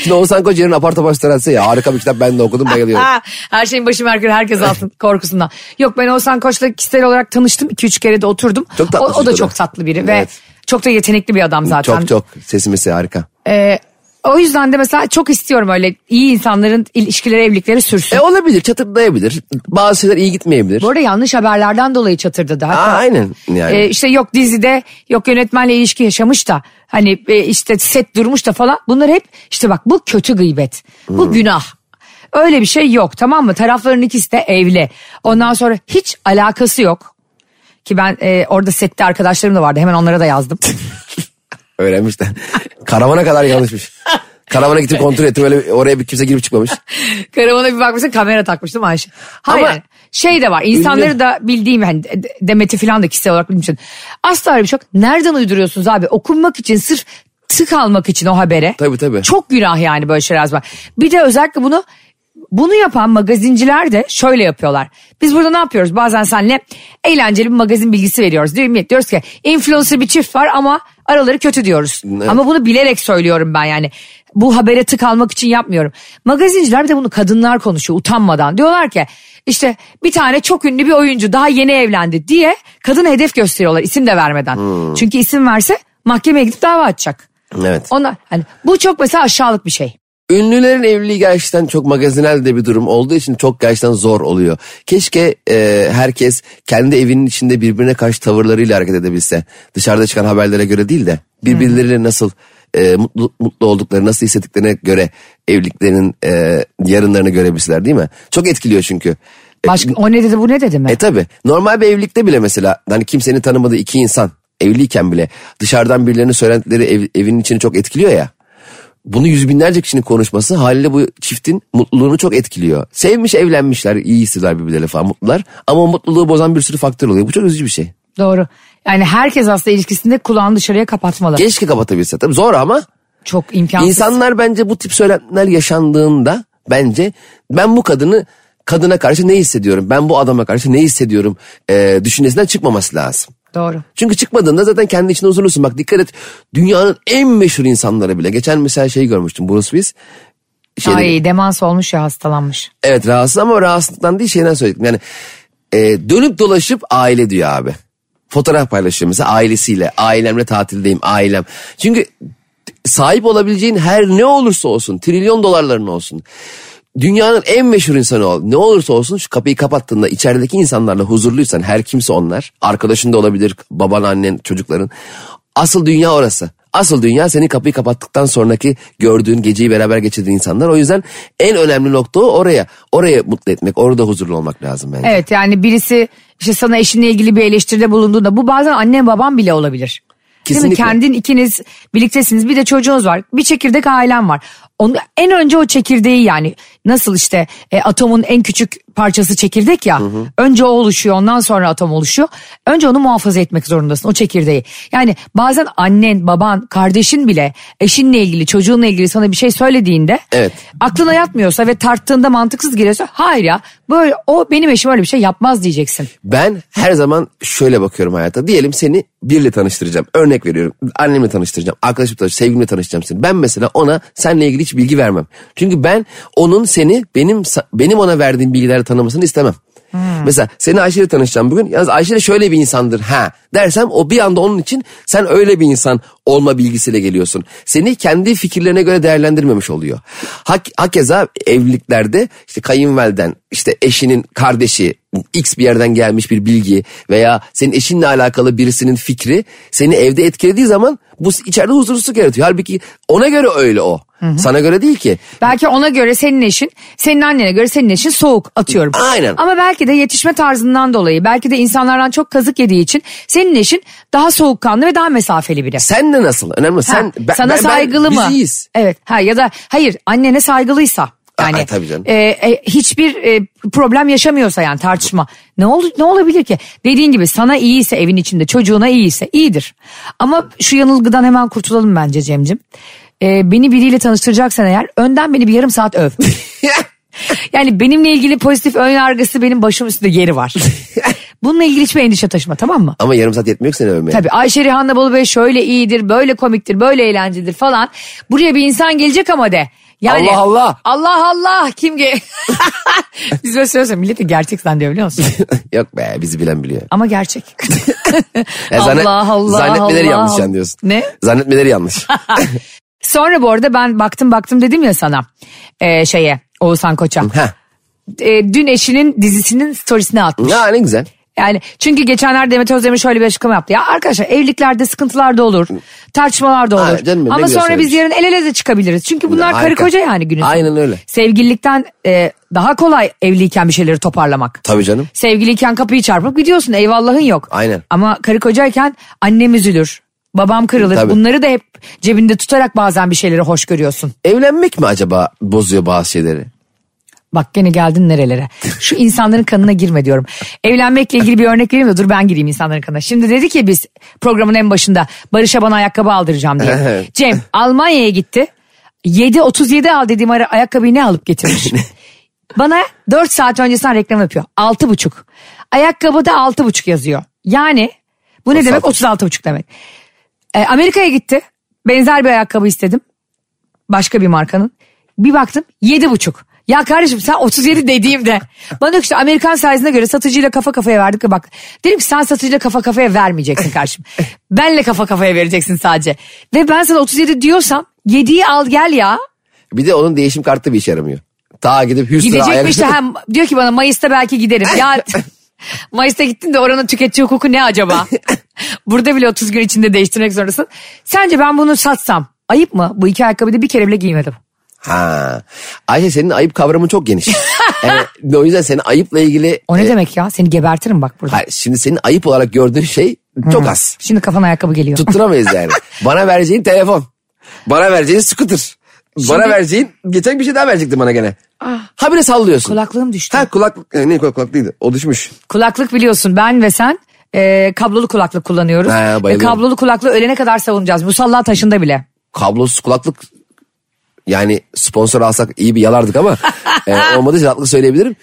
Şimdi Oğuzhan Koç yerine apar topar sırası ya harika bir kitap ben de okudum bayılıyorum.
Ha, Her şeyin başı Merkür herkes altın korkusundan. Yok ben Oğuzhan Koç'la kişisel olarak tanıştım. 2-3 kere de oturdum.
Çok tatlı
o, o da
çocuk
çok
o da.
tatlı biri ve
Evet.
çok da yetenekli bir adam zaten.
Çok çok sesimesi harika.
Ee, o yüzden de mesela çok istiyorum öyle iyi insanların ilişkileri evlilikleri sürsün.
E olabilir çatırdayabilir. Bazı şeyler iyi gitmeyebilir.
Bu arada yanlış haberlerden dolayı çatırdadı.
Aa,
Hatta
aynen yani.
Ee, işte yok dizide yok yönetmenle ilişki yaşamış da hani e, işte set durmuş da falan bunlar hep işte bak bu kötü gıybet bu günah öyle bir şey yok tamam mı tarafların ikisi de evli ondan sonra hiç alakası yok ki ben e, orada sette arkadaşlarım da vardı hemen onlara da yazdım
Öğrenmiş de. Karavana kadar yanlışmış. Karavana gittim kontrol ettim öyle oraya bir kimse girip çıkmamış.
karavana bir bakmışsın kamera takmıştım Ayşe hayır
Ama-
şey de var insanları da bildiğim hani de- de- Demet'i falan da kişisel olarak bildiğim için asla öyle bir şey yok nereden uyduruyorsunuz abi okunmak için sırf tık almak için o habere
Tabii tabii.
Çok günah yani böyle şeyler yazmak. Bir de özellikle bunu bunu yapan magazinciler de şöyle yapıyorlar. Biz burada ne yapıyoruz? Bazen senle eğlenceli bir magazin bilgisi veriyoruz. Değil mi? Diyoruz ki influencer bir çift var ama araları kötü diyoruz.
Evet.
Ama bunu bilerek söylüyorum ben yani. Bu habere tık almak için yapmıyorum. Magazinciler bir de bunu kadınlar konuşuyor utanmadan. Diyorlar ki işte bir tane çok ünlü bir oyuncu daha yeni evlendi diye kadına hedef gösteriyorlar isim de vermeden. Çünkü isim verse mahkemeye gidip dava açacak.
Hmm. Evet.
Onlar hani bu çok mesela aşağılık bir şey.
Ünlülerin evliliği gerçekten çok magazinel de bir durum olduğu için çok gerçekten zor oluyor. Keşke e, herkes kendi evinin içinde birbirine karşı tavırlarıyla hareket edebilse. Dışarıda çıkan haberlere göre değil de birbirleriyle nasıl e, mutlu, mutlu oldukları, nasıl hissettiklerine göre evliliklerinin e, yarınlarını görebilseler değil mi? Çok etkiliyor çünkü. E,
Başka, o ne dedi bu ne dedi mi?
E tabi normal bir evlilikte bile mesela hani kimsenin tanımadığı iki insan evliyken bile dışarıdan birilerinin söylentileri ev- evin içini çok etkiliyor ya. Bunu yüz binlerce kişinin konuşması haliyle bu çiftin mutluluğunu çok etkiliyor. Sevmiş evlenmişler iyi hissediyorlar birbirleriyle falan mutlular ama o mutluluğu bozan bir sürü faktör oluyor. Bu çok üzücü bir şey.
Doğru. Yani herkes aslında ilişkisinde kulağını dışarıya kapatmalı.
Keşke kapatabilse tabii zor ama
çok imkansız.
insanlar bence bu tip söylentiler yaşandığında bence ben bu kadını kadına karşı ne hissediyorum ben bu adama karşı ne hissediyorum eee düşüncesinden çıkmaması lazım.
Doğru.
Çünkü çıkmadığında zaten kendi içinde huzurlusun. Bak dikkat et dünyanın en meşhur insanları bile. Geçen mesela şey görmüştüm Bruce Willis. Şeyde-
Ay demans olmuş ya hastalanmış.
Evet rahatsız ama rahatsızlıktan değil şeyden söyledim. Yani e, dönüp dolaşıp aile diyor abi. Fotoğraf paylaşıyor mesela ailesiyle. Ailemle tatildeyim ailem. Çünkü sahip olabileceğin her ne olursa olsun trilyon dolarların olsun. Dünyanın en meşhur insanı ol. Ne olursa olsun şu kapıyı kapattığında içerideki insanlarla huzurluysan her kimse onlar. Arkadaşın da olabilir baban annen çocukların. Asıl dünya orası. Asıl dünya senin kapıyı kapattıktan sonraki gördüğün geceyi beraber geçirdiğin insanlar. O yüzden en önemli nokta o oraya. Oraya mutlu etmek, orada huzurlu olmak lazım bence.
Evet yani birisi işte sana eşinle ilgili bir eleştiride bulunduğunda bu bazen annem babam bile olabilir. Değil mi?
Kesinlikle.
Kendin ikiniz birliktesiniz bir de çocuğunuz var bir çekirdek ailem var. Onu, en önce o çekirdeği yani nasıl işte e, atomun en küçük parçası çekirdek ya önce o oluşuyor ondan sonra atom oluşuyor. Önce onu muhafaza etmek zorundasın o çekirdeği. Yani bazen annen baban kardeşin bile eşinle ilgili çocuğunla ilgili sana bir şey söylediğinde
Evet.
aklına yatmıyorsa ve tarttığında mantıksız geliyorsa hayır ya böyle o benim eşim öyle bir şey yapmaz diyeceksin.
Ben her zaman şöyle bakıyorum hayata. Diyelim seni biriyle tanıştıracağım. Örnek veriyorum. Annemle tanıştıracağım. Arkadaşımla tanıştıracağım. Sevgilimle tanıştıracağım seni. Ben mesela ona seninle ilgili hiç bilgi vermem. Çünkü ben onun seni benim sa- benim ona verdiğim bilgilerle tanımasını istemem. Mesela seni Ayşe'yle tanışacağım bugün. Yalnız Ayşe de şöyle bir insandır ha dersem o bir anda onun için sen öyle bir insan olma bilgisiyle geliyorsun. Seni kendi fikirlerine göre değerlendirmemiş oluyor. Hak, hakeza evliliklerde işte kayınvaliden işte eşinin kardeşi X bir yerden gelmiş bir bilgi veya senin eşinle alakalı birisinin fikri seni evde etkilediği zaman bu içeride huzursuzluk yaratıyor. Halbuki ona göre öyle o. Sana göre değil ki.
Belki ona göre senin eşin, senin annene göre senin eşin soğuk atıyorum.
Aynen.
Ama belki de yetişme tarzından dolayı, belki de insanlardan çok kazık yediği için senin eşin daha soğukkanlı ve daha mesafeli biri.
Sen de nasıl? Önemli.
Ha,
Sen, ben-
sana
ben- ben-
saygılı mı?
Biz iyiyiz.
Evet. Ha ya da hayır annene saygılıysa yani
Aa, tabii canım.
e, e, hiçbir e, problem yaşamıyorsa yani tartışma. Ne oldu ne olabilir ki? Dediğin gibi sana iyiyse evin içinde, çocuğuna iyiyse iyidir. Ama şu yanılgıdan hemen kurtulalım bence Cemcim. E, beni biriyle tanıştıracaksan eğer önden beni bir yarım saat öv. yani benimle ilgili pozitif ön yargısı benim başım üstünde yeri var. Bununla ilgili hiçbir endişe taşıma tamam mı?
Ama yarım saat yetmiyor ki seni övmeye.
Tabii Ayşe Rihanna Bolu Bey şöyle iyidir, böyle komiktir, böyle eğlencelidir falan. Buraya bir insan gelecek ama de. Yani,
Allah Allah.
Allah Allah kim ge... Biz böyle söylüyoruz ya, millet de gerçek zannediyor biliyor musun?
Yok be bizi bilen biliyor.
ama gerçek.
Ya zannet- Zannetmeleri
Allah.
yanlış yani diyorsun.
Ne?
Zannetmeleri yanlış.
Sonra bu arada ben baktım baktım dedim ya sana e, şeye Oğuzhan Koç'a.
Heh.
E, dün eşinin dizisinin storiesini attı.
Ya ne güzel.
Yani çünkü geçenlerde Demet Özdemir şöyle bir açıklama yaptı. Ya arkadaşlar evliliklerde sıkıntılar da olur. Tartışmalar da olur.
Aynen canım, ne
Ama
güzel
sonra biz
söylemiş.
yarın el ele de çıkabiliriz. Çünkü bunlar karı
şey? Harika.
koca yani günün. sonunda.
Aynen öyle.
Sevgililikten e, daha kolay evliyken bir şeyleri toparlamak.
Tabii canım.
Sevgiliyken kapıyı çarpıp gidiyorsun eyvallahın yok.
Aynen.
Ama karı kocayken annem üzülür. Babam kırılır.
Tabii.
Bunları da hep cebinde tutarak bazen bir şeyleri hoş görüyorsun.
Evlenmek mi acaba bozuyor bazı şeyleri?
Bak gene geldin nerelere. Şu insanların kanına girme diyorum. Evlenmekle ilgili bir örnek vereyim de dur ben gireyim insanların kanına. Şimdi dedik ya biz programın en başında Barış'a bana ayakkabı aldıracağım diye.
Evet.
Cem Almanya'ya gitti. 7.37 al dediğim ara ayakkabıyı ne alıp getirmiş? bana 4 saat öncesinden reklam yapıyor. 6.5. Ayakkabıda 6.5 yazıyor. Yani bu ne demek? 36.5 demek. E, Amerika'ya gitti. Benzer bir ayakkabı istedim. Başka bir markanın. Bir baktım yedi buçuk. Ya kardeşim sen 37 dediğimde bana diyor ki işte Amerikan sayesinde göre satıcıyla kafa kafaya verdik ve bak. Dedim ki sen satıcıyla kafa kafaya vermeyeceksin kardeşim. Benle kafa kafaya vereceksin sadece. Ve ben sana 37 diyorsam 7'yi al gel ya.
Bir de onun değişim kartı bir işe yaramıyor. Ta gidip Houston'a
Gidecekmiş de
ayarlayıp-
hem diyor ki bana Mayıs'ta belki giderim. Ya Mayıs'ta gittin de oranın tüketici hukuku ne acaba? Burada bile 30 gün içinde değiştirmek zorundasın. Sence ben bunu satsam ayıp mı? Bu iki ayakkabıyı da bir kere bile giymedim.
Ha. Ayşe senin ayıp kavramın çok geniş. yani, o yüzden senin ayıpla ilgili...
O ne
e,
demek ya? Seni gebertirim bak burada.
hayır, şimdi senin ayıp olarak gördüğün şey çok az.
Şimdi kafana ayakkabı geliyor.
Tutturamayız yani. Bana vereceğin telefon. Bana vereceğin scooter. Bana
Şimdi- Ah.
vereceğin... Geçen bir şey daha verecektin bana gene. Ha bile sallıyorsun.
Kulaklığım düştü.
Ha kulaklık... e, Ne kulak- kulaklıydı? O düşmüş.
Kulaklık biliyorsun ben ve sen e, kablolu kulaklık kullanıyoruz.
Ha,
ve
bayılıyorum.
kablolu kulaklığı ölene kadar savunacağız. Musalla taşında bile.
kablosuz kulaklık yani sponsor alsak iyi bir yalardık ama e, olmadı rahatlıkla söyleyebilirim.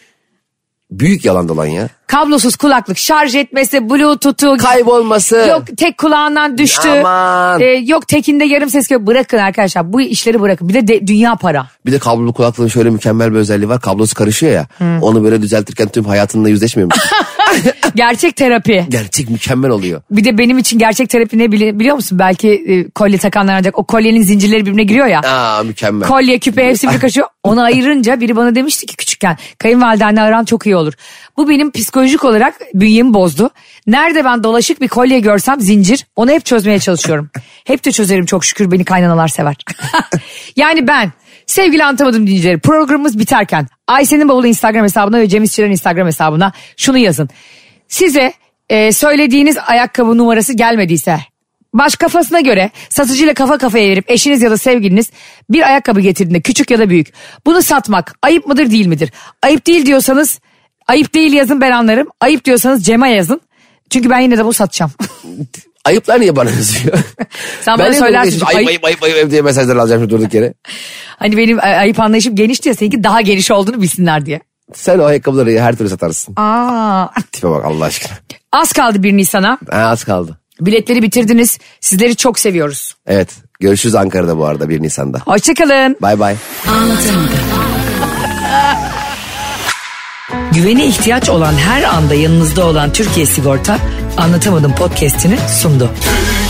Büyük yalan dolan ya.
Kablosuz kulaklık şarj etmesi, bluetooth'u...
Kaybolması.
Yok tek kulağından düştü.
Aman.
E, yok tekinde yarım ses geliyor. Bırakın arkadaşlar bu işleri bırakın. Bir de, de- dünya para.
Bir de kablolu kulaklığın şöyle mükemmel bir özelliği var. Kablosu karışıyor ya. Onu böyle düzeltirken tüm hayatınla yüzleşmiyor musun?
Gerçek terapi.
Gerçek mükemmel oluyor.
Bir de benim için gerçek terapi ne bili- biliyor musun? Belki e, kolye takanlar ancak o kolyenin zincirleri birbirine giriyor ya.
Aa mükemmel.
Kolye, küpe hepsi bir kaşıyor. Onu ayırınca biri bana demişti ki küçükken kayınvalidenle aran çok iyi olur. Bu benim psikolojik olarak bünyemi bozdu. Nerede ben dolaşık bir kolye görsem zincir. Onu hep çözmeye çalışıyorum. hep de çözerim çok şükür beni kaynanalar sever. yani ben sevgili anlatamadım dinleyicileri programımız biterken Ayşe'nin bavulu Instagram hesabına ve Cem İşçilerin Instagram hesabına şunu yazın. Size e, söylediğiniz ayakkabı numarası gelmediyse Baş kafasına göre satıcıyla kafa kafaya verip eşiniz ya da sevgiliniz bir ayakkabı getirdiğinde küçük ya da büyük. Bunu satmak ayıp mıdır değil midir? Ayıp değil diyorsanız ayıp değil yazın ben anlarım. Ayıp diyorsanız Cem'e yazın. Çünkü ben yine de bunu satacağım.
Ayıplar niye bana yazıyor?
Sen bana
niye böyle
söylersin.
geçmiş,
çünkü
Ayıp
ayıp-
ayıp ayıp ayıp diye mesajlar alacağım şimdi durduk yere.
Hani benim ay- ayıp anlayışım genişti ya seninki daha geniş olduğunu bilsinler diye.
Sen o ayakkabıları her türlü satarsın.
Aa.
Tipe bak Allah aşkına.
Az kaldı 1 Nisan'a.
Ha, az kaldı.
Biletleri bitirdiniz. Sizleri çok seviyoruz.
Evet. Görüşürüz Ankara'da bu arada 1 Nisan'da.
Hoşçakalın.
Bay bay.
Anlatamadım. Güvene ihtiyaç olan her anda yanınızda olan Türkiye Sigorta Anlatamadım podcast'ini sundu.
Türkiye